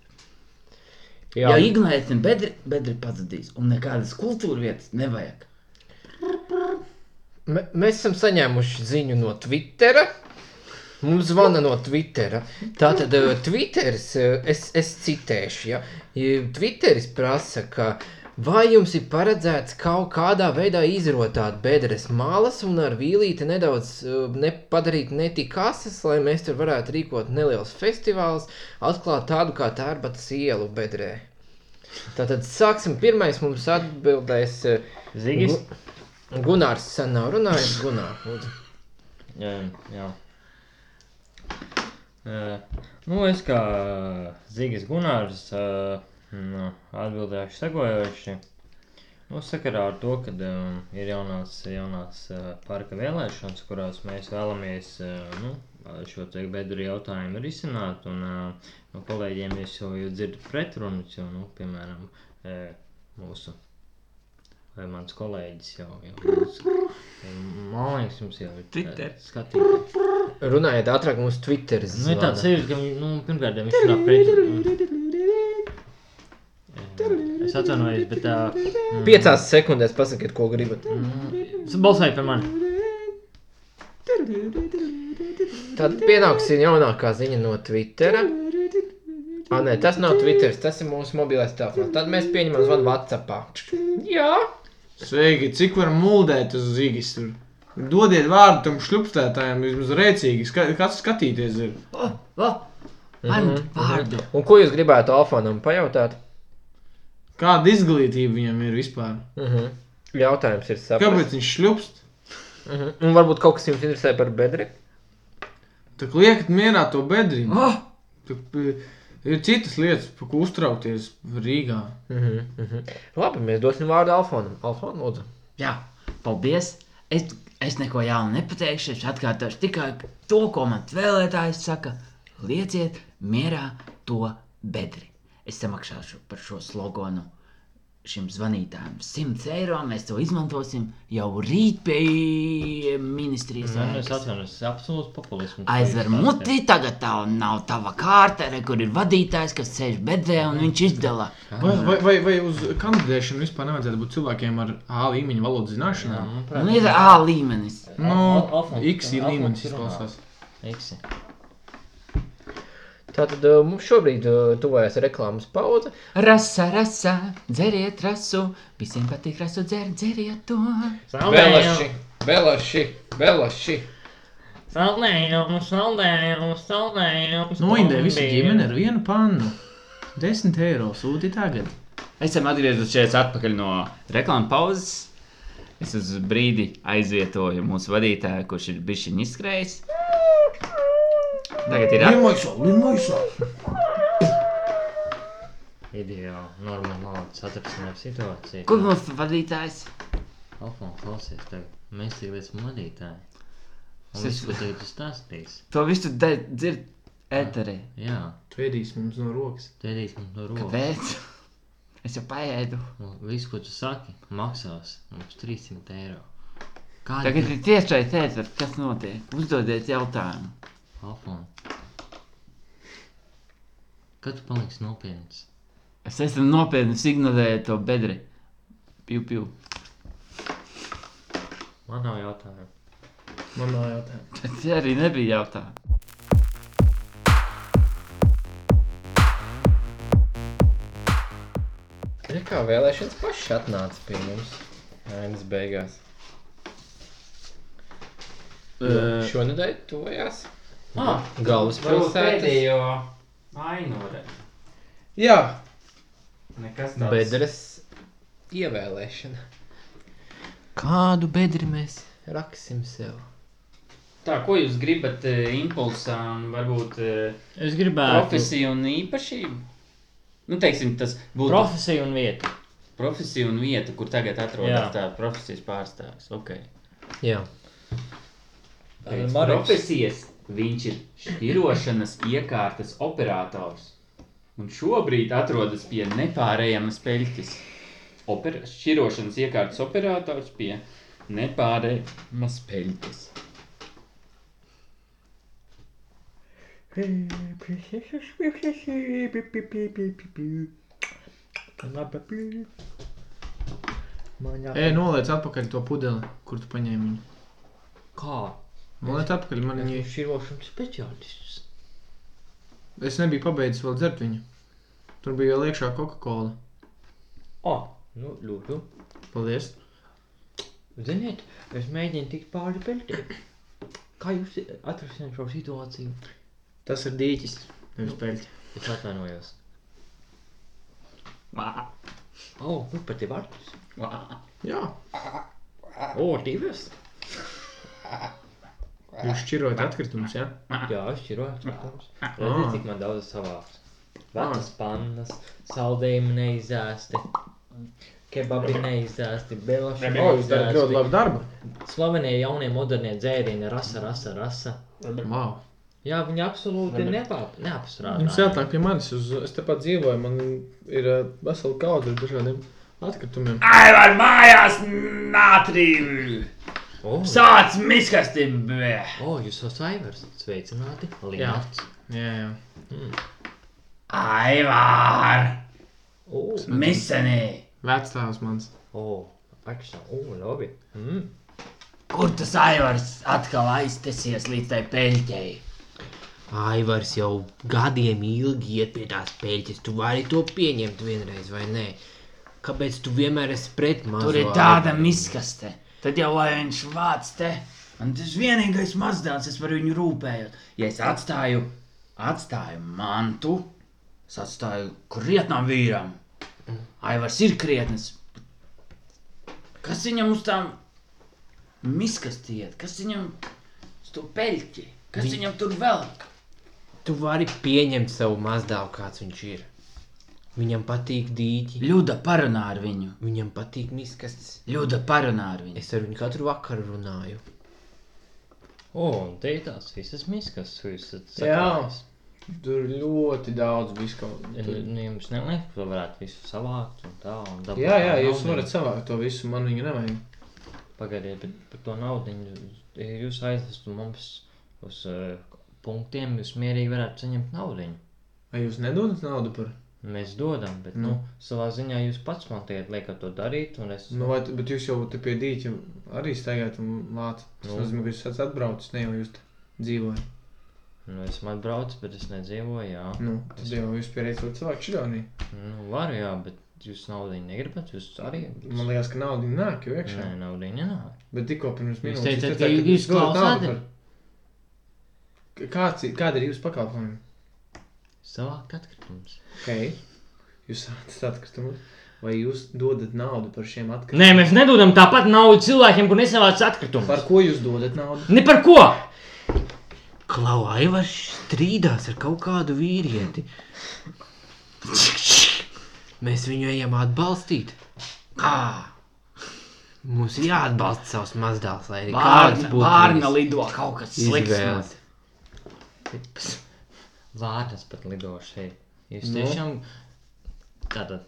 Jā, ja ignorēsim bedri, bedri pazudīs. Un nekādas kultūra vietas nevajag. Me- Mēs esam saņēmuši ziņu no Twittera. Mums zvana no Twittera. Tā tad Twitteris, eh, es, es citēšu, ja. Eh, Twitteris prasa, ka vai jums ir paredzēts kaut kādā veidā izrotāt bedres malas un ar vīlīti nedaudz eh, ne, padarīt netik asas, lai mēs tur varētu rīkot neliels festivāls, atklāt tādu kā tērbatas ielu bedrē. Tātad sāksim. Pirmais mums atbildēs eh, Zigis? Gu- Gunārs sen nav runājis. Gunārs, lūdzu. Jā, jā. Uh, nu, es kā uh, Zigis Gunārs uh, nu, atbildēšu sekojoši. Nu, sakarā ar to, ka um, ir jaunās, jaunās uh, parka vēlēšanas, kurās mēs vēlamies uh, nu, šo te bedru jautājumu risināt, un uh, no kolēģiem jūs jau jau dzirdat pretrunas, jo, nu, piemēram, uh, mūsu vai mans kolēģis jau, jau mums, man liekas, jums jau ir Twitter. Skatīt. Runājiet ātrāk, mums Twitter Nu, ir tāds zvanā. sajūta, ka viņ- nu, pirmkārt, viņš ir apgleznojis. Es atvainojos, bet tā. mm, Piecās sekundēs pasakiet, ko gribat. mm, Balsojiet par mani. Tad pienāks jaunākā ziņa no Twittera. Ah, nē, tas nav Twitter, tas ir mūsu mobilais telefons. Tad mēs pieņemam zvanu Whatsappā. Jā, Sveiki, cik var mūldēt uz zīmes tur? Dodiet vārdu tam šļupstētājam, vismaz rēcīgi. Ska, kas skatīties ir? Oh, oh, Ant Mhm. vārdu. Mhm. un ko jūs gribētu Alfonam pajautāt? Kāda izglītība viņam ir vispār? Mhm. Jautājums ir saprotams. Kāpēc viņš šļupst? Mhm. Un varbūt kaut kas jums interesē par bedri? Tik liekat mierā to bedri. Ah! Oh, Tik, p- ir citas lietas, par ko uztraukties Rīgā. Mhm. Mhm. Labi, mēs dosim vārdu Alfonam. Alfon, lūdzu. jā, paldies. Es, es neko jaunu nepateikšu. Es atkārtošu tikai to, ko man vēlētājs saka. Lieciet mierā to bedri. Es samaksāšu par šo slogonu šim zvanītājam 100 eiro. Mēs to izmantosim jau rīt pie ministrijas. Nu, Es ēkas. atvainojos, tas ir absolūts populisms. Aizver muti, tagad tā nav tava kārta, re, kur ir vadītājs, kas sēž bedrē un viņš izdala. Vai, vai, vai, vai uz kandidēšanu vispār nevajadzētu būt cilvēkiem ar A līmeņa valodas zināšanām? Un ir A līmenis. Al- Nu, nu. Alfons- X ir Alfons līmenis ir runā. izklausās. Iksi. Tātad uh, mums šobrīd uh, tuvojas reklāmas pauze. Rasa, rasa, dzeriet rasu, visiem patīk rasu dzert, dzeriet to. Belaši, belaši, belaši. Saldējumu, saldējumu, saldējumu. Nu, Noindē visu ģimeni ar vienu pannu. 10 eiro sūti tagad. Esam atgriezušies atpakaļ no reklāmas pauzes. Es uz brīdi aizvietoju mūsu vadītāju, kurš ir bijis izskrējis. Tagad ir atpakaļ. Ideāli, normāli satricinājuma situācija. Kur mums vadītājs? Alfons klausies tev? Mēs tikties manītāji. Un Es- viss, ko tagad tu stāstīsi. To visu de- dzird ēterī. Jā, Tu ēdīsi mums no rokas. tēdīs mums no rokas. Kāpēc? Es jau paēdu. Un Viss, ko tu saki, maksās mums 300 eiro. Kāda Tagad ir tiešais ēteris, kas notiek. Uzdodiet jautājumu. Alfons? Kad tu paliksi nopietns? Es esmu nopietni ignorējis to bedri. Piu, piu. Man nav jautājumu. Man nav jautājumu. [laughs] Tas arī nebija jautājums. Re, Kā vēlēšanas pašas atnāca pie mums? Ainas beigās. Uh, Šonadēļ tuvojās galvaspilsētas Ainore. Jā, Nekas bedres ievēlēšana. Kādu bedri mēs raksim sev? Tā, ko jūs gribat? eh, Impulsā, un varbūt eh, Es gribētu profesiju un īpašību? Nu, teiksim, tas būtu Prof... profesiju un vietu. profesija un vieta, kur tagad Jā. atrodas tā profesijas pārstāvis. Okay. Jā. Pēc profesijas viņš ir šķirošanas iekārtas operators. Un šobrīd atrodas pie nepārējamas peļķes. Oper šķirošanas iekārtas operators pie nepārējamas peļķes. Ej, noliec atpakaļ to pudeli, kur tu paņēmi viņu. Kā? Noliec atpakaļ, man viņa. Viņš ir rošanas speciālists. Es nebiju pabeidzis vēl dzert viņu. Tur bija vēl iekšā Coca-Cola. O, nu, lūdzu. Paldies. Ziniet, es mēģinu tikt pāri peļķei. Kā jūs atrasināt šo situāciju? Tas ir dīķis. Nevis peļķi. Es atvainojos. O, oh, nu pat ir vārds. Jā, O, divas. jūs šķirojat atkritumus, jā? Jā, es šķiroju. protams. Ah. Redziet, cik man daudz savāks. Vecas pannas, saldējumi neizēsti. Kebabi neizēsti, belaši O, jūs darat ļoti neizēsti. labu darbu. Slovenija jaunie modernie dzērieni, rasa, rasa, rasa. Wow. Jā, viņi absolūti nepap- neapstrādā. Jums jāatnāk pie manis, uz, es tepat dzīvoju, man ir ā, vesela kaudze ar dažādiem atkritumiem. Ai, var mājās nātrīvi! O, Sāc miskastību! O, jūs esat Aivars. Sveicināti. Lienārds. Jā, jā. Aivār! O, Misenī! Vecstāvs mans. o, akšā. O, labi. Mm. Kur tas aivars atkal aiztesies līdz tai peļķei? Aivars jau gadiem ilgi iet pie tās peļķes. Tu vari to pieņemt vienreiz, vai nē? Kāpēc tu vienmēr esi pret mani? Tur ir tāda miskaste. Tad jau lai viņš vāc te. Un tas vienīgais mazdēls, es par viņu rūpējos. Ja es atstāju, atstāju mantu, es atstāju krietnam vīram. Mm. Aivars ir krietnes. Kas viņam uz tām miskastiet? Kas viņam uz to peļķi? Kas Vi... viņam tur velk? Tu vari pieņemt savu mazdāvu, kāds viņš ir. Viņam patīk dīķi, Ļuda parunā ar viņu. viņam patīk miskastes. Ļuda parunā ar viņu. Es ar viņu katru vakaru runāju. O, un te ir tās visas miskas, ko jūs esat Jā. sakājis. Tur ir ļoti daudz viskaudzi. Nu, jums neliek, ka varētu visu savākt un tā. Un dabūt Jā, jā, tā jūs naudiņu. varat savākt to visu, man viņa nevajag. Pagaidiet, bet par to naudu jūs aizvestu mums uz uh, punktiem, jūs mierīgi varētu saņemt naudu. Vai jūs nedodat naudu par? Mēs dodam, bet, nu, savā ziņā jūs pats man tiek liekat to darīt, un es... Nu, vai, tu- bet jūs jau te pie dīķa arī staigājat un lācat. Tas Nu. nozīmē, ka jūs esat atbraucis, ne jau jūs te dzīvojat. Nu, esmu atbraucis, bet es nedzīvoju, jā. Nu, tad jau jūs pieredzat cilvēku šķironī. Nu, varu, jā, bet jūs naudu negribat, jūs arī... Man liekas, ka nauda nāk jau iekšā. Nē, naudu nenāk. Bet tikko pirms minūtes teicat, teicāt, ka jūs dodat naudu klausāties? par- K- Kāds, ir- kāda ir jūsu pakalpojuma? Es savākt atkritumus. Okay. Jūs esat atkritumus, vai jūs dodat naudu par šiem atkritumiem? Nē, mēs nedodam tāpat naudu cilvēkiem, kur nesavāc atkritumus. Par ko jūs dodat naudu? Ne par ko! Klau, Aivars strīdās ar kaut kādu vīrieti. Mēs viņu ejam atbalstīt. Kā? Mums ir jāatbalsta savs mazdēls, lai arī kāds Vārna, būtu vārna viņas lido kaut kas slikts. izvēle. notiek. Vārnas pat lido šeit. Nu. Jūs tiešām tātad.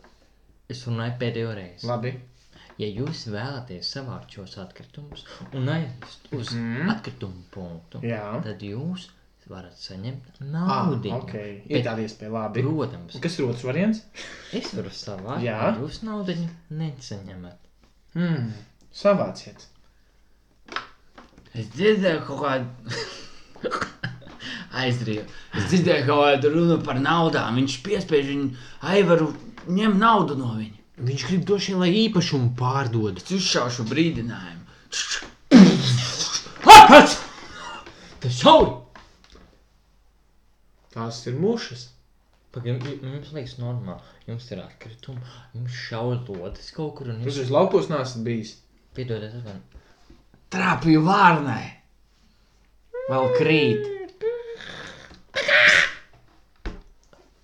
Es runāju pēdējo reizi. Labi. Ja jūs vēlaties savākt šos atkritumus un aizvest uz mm. atkritumu punktu, Jā. Ah, tad jūs varat saņemt naudu. ok. Ir tāda iespēja, labi. Protams, Un Kas ir otrs variants? es varu savākt, Jā. ja jūs naudu nesaņemat. Hmm. Savāciet. Es dzirdēju kaut kādu [laughs] aizrieju. Es dzirdēju kaut kādu runu par naudām. Viņš piespiež viņu, Aivaru, ņem naudu no viņa. Viņš grib došie, lai īpašumu pārdod. Es uzšaušu brīdinājumu. Kāpēc? Tas jau ir! Tās ir mušas. Pagaidām, jums liekas normāli. Jums ir atkritumi, jums šauja lodes kaut kur un Jūs jūs uz laukos neesat bijis. piedodiet man. Trāpīju vārnai. Vēl krīt.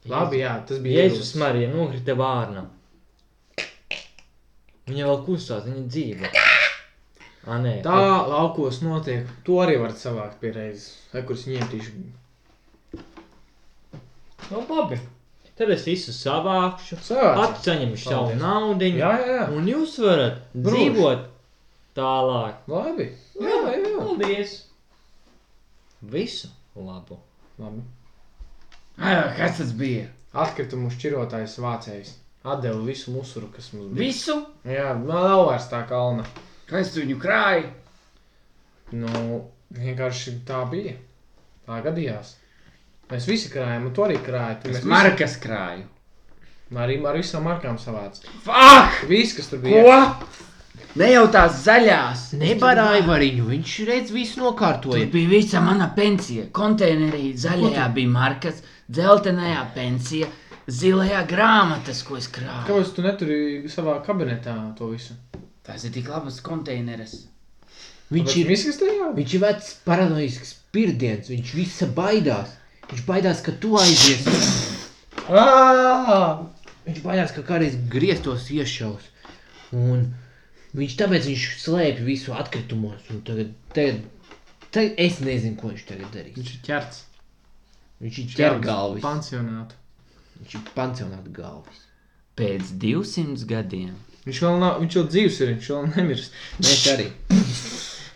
Labi, jā, tas bija Jēzus Marija nokrita vārnā. Viņa vēl kustās, viņa dzīvo. Ah, nē, Tā laukos notiek. To arī var savākt pie reizes. Vai kurus ņemt tieši? nu, labi. Tad es visu savākšu, Savāciet. atceņemšu savu Paldies. naudu. Jā, jā, jā. Un jūs varat Brūž. dzīvot tālāk. Labi. Jā, jā, jā. Paldies! Visu labu! Labi. Ai, kas tas bija? Atkritumu šķirotājs vācējs. Atdeva visu musuru, kas mums bija. Visu? Jā, man nav vairs tā kalna. Kas tu viņu krāji? Nu, vienkārši tā bija. Tā gadījās. Mēs visi krājām, un tu arī krāji. Tu Es mēs markas krāju. visi- arī ar visām markām savāc. Fuck! Viss, kas tur bija. Ko? Ne jau tās zaļās. Nebarāja variņu, viņš redz visu Tur nokārtoja. bija visa mana pensija. Konteinerī zaļajā bija markas, dzeltenajā pensija, zilajā grāmatas, ko es krāju. Kāpēc tu neturi savā kabinetā to visu? Tās ir tik labas konteineres. Viņš ir, viss, kas tajā bija. viņš ir vecs paranoisks pirdiens, viņš visa baidās. Viņš baidās, ka tu aizies. Viņš baidās, ka kādreiz grieztos iešaus. Un viņš tāpēc viņš slēpj visu atkritumos. Un tagad, tagad, tagad es nezinu, ko viņš tagad darīs. Viņš ir ķerts. Viņš ir ķergalvis. Pansionāta. Viņš ir pansionāta galvis. Pēc 200 gadiem Viņš vēl nav, viņš vēl dzīves ir, viņš vēl nemirst. [laughs] Mēs arī.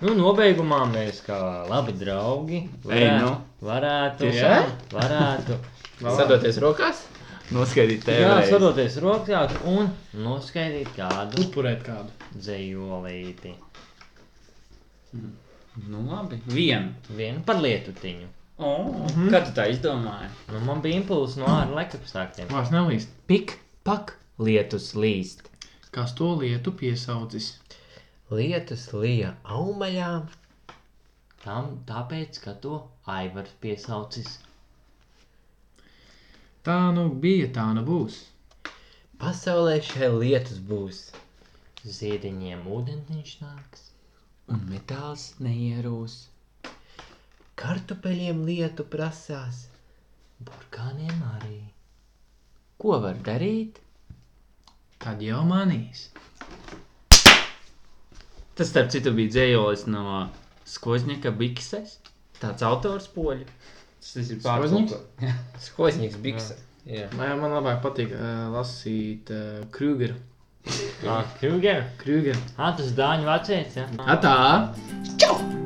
Nu, nobeigumā mēs kā labi draugi varētu, varētu, Tiešām? varētu Sadoties rokās? noskaidrot jā, tevi. sadoties rokās un noskaidrot kādu Upurēt kādu. dzējolīti. Nu labi, vienu. Vienu par lietutiņu. Oh, Mhm. mm. Kā tu tā izdomāji? Nu, man bija impulss no ārlaika apstākļiem. Vairs nelīst. Pik, pak, lietus līst. Kas to lietu piesaucis? Lietus lija aumaļām. Tam tāpēc, ka to aivars piesaucis. Tā nu bija, tā nu būs. Pasaulē šai lietas būs. Ziediņiem ūdeniņš nāks. un metāls neierūs. Kartupeļiem lietu prasās. Burkāniem arī. Ko var darīt? Tad jau manīs. Tas, starp citu, bija dzējolis no Skožņaka Bikses. Tāds autors poļu. Tas ir Skožņiks? Skosnieks biksa. Jā, man labāk patīk uh, lasīt uh, Krūgeru. Ah, Kruger! Krūgeru. Ah, tas dāņu vecēts, jā? Ja? Atā! Čau!